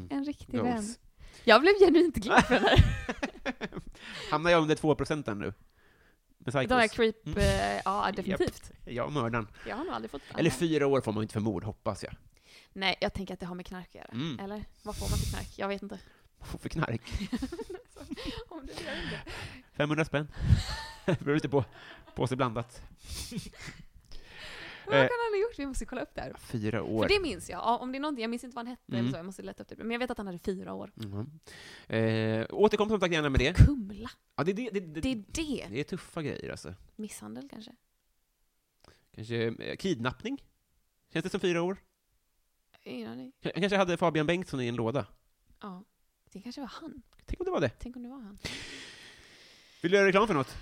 En riktig vän.
Goals.
Jag blev genuint glad för den
*laughs*
här.
Hamnar jag under 2% nu? Med
Den här
psychos.
creep... Eh, ja, definitivt.
Ja, mördaren.
Jag har nog aldrig fått
Eller fyra år får man ju inte för mord, hoppas jag.
Nej, jag tänker att det har med knark att göra.
Mm.
Eller? Vad får man för knark? Jag vet inte.
Vad för knark?
*laughs* Om det gör inte.
500
*laughs*
spänn. Beror lite på. Påse blandat.
Vad
Eh.
kan han ha gjort? Vi måste kolla upp det här.
Fyra år.
För det minns jag. Ja, om det är någonting, jag minns inte vad han hette
Mm.
eller så, jag måste leta upp det. Men jag vet att han hade fyra år.
Mhm. Eh, återkom som sagt gärna med det.
Kumla.
Ja, det, det, det, det,
Det
det.
är det.
är tuffa grejer alltså.
Misshandel kanske?
Kanske eh, kidnappning? Känns det som fyra år?
Ingen aning.
K- kanske hade Fabian Bengtsson i en låda?
Ja. Det kanske var han.
Tänk om det var det.
Tänk om det var han.
Vill du göra reklam för något?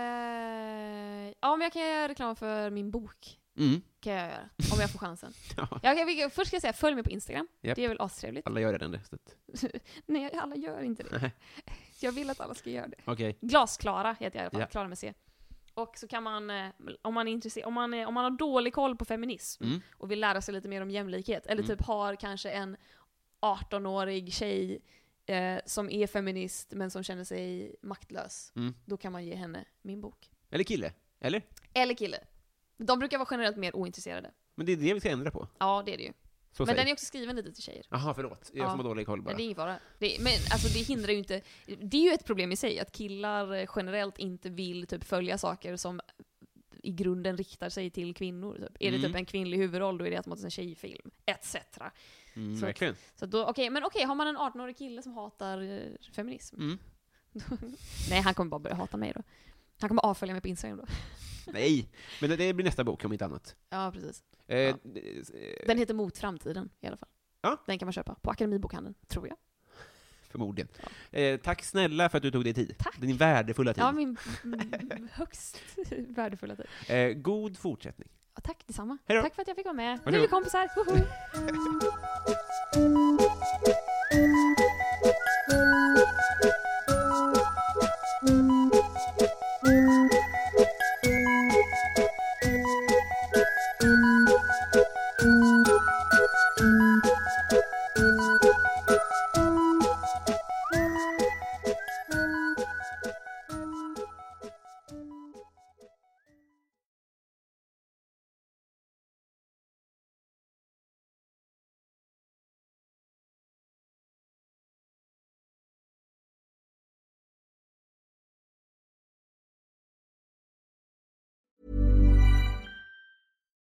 Eh, ja, men jag kan göra reklam för min bok.
Mm.
Kan jag göra, om jag får chansen.
*laughs* Ja,
Jag, jag, jag, först ska jag säga, följ mig på Instagram.
Japp.
Det är väl astrevligt.
alla gör redan det. så att-
Nej, alla gör inte det.
Nej,
Jag vill att alla ska göra det.
Okej.
Glasklara heter jag i alla fall,
Ja.
Klara med C. Och så kan man, eh, om man är intresserad, om man, är, om man har dålig koll på feminism
Mm.
och vill lära sig lite mer om jämlikhet, eller
Mm.
typ har kanske en 18-årig tjej eh, som är feminist men som känner sig maktlös,
Mm.
då kan man ge henne min bok.
Eller kille. Eller?
Eller kille. De brukar vara generellt mer ointresserade.
Men det är det vi ska ändra på.
Ja, det är det ju.
Så
men
säg.
den är också skriven lite till tjejer.
Jaha, förlåt. Jag
Ja.
som har dålig koll bara.
Men det är ingen fara. Det, men alltså det hindrar ju inte, det är ju ett problem i sig att killar eh, generellt inte vill typ följa saker som i grunden riktar sig till kvinnor. Typ. Är det
Mm.
typ en kvinnlig huvudroll då är det automatiskt en tjejfilm, etc.
Mm,
så-
verkligen.
Så då, okej, men okej, har man en 18-årig kille som hatar eh, feminism?
Mm.
*laughs* Nej, han kommer bara börja hata mig då. Han kommer avfölja mig på Instagram då.
Nej, men det- det blir nästa bok om inte annat.
Ja, precis.
Eh,
Ja.
d- eh,
Den heter Mot framtiden i alla fall.
Ja.
Den kan man köpa på Akademibokhandeln, tror jag.
Förmodligen. Eh, tack snälla för att du tog dig tid.
Tack.
Din värdefulla tid.
Ja, min *laughs* mm, högst *laughs* värdefulla tid.
Eh, god fortsättning.
Ja, tack detsamma.
Hej då.
Tack för att jag fick vara med. Nu är
Varsågod.
vi kompisar. Woho!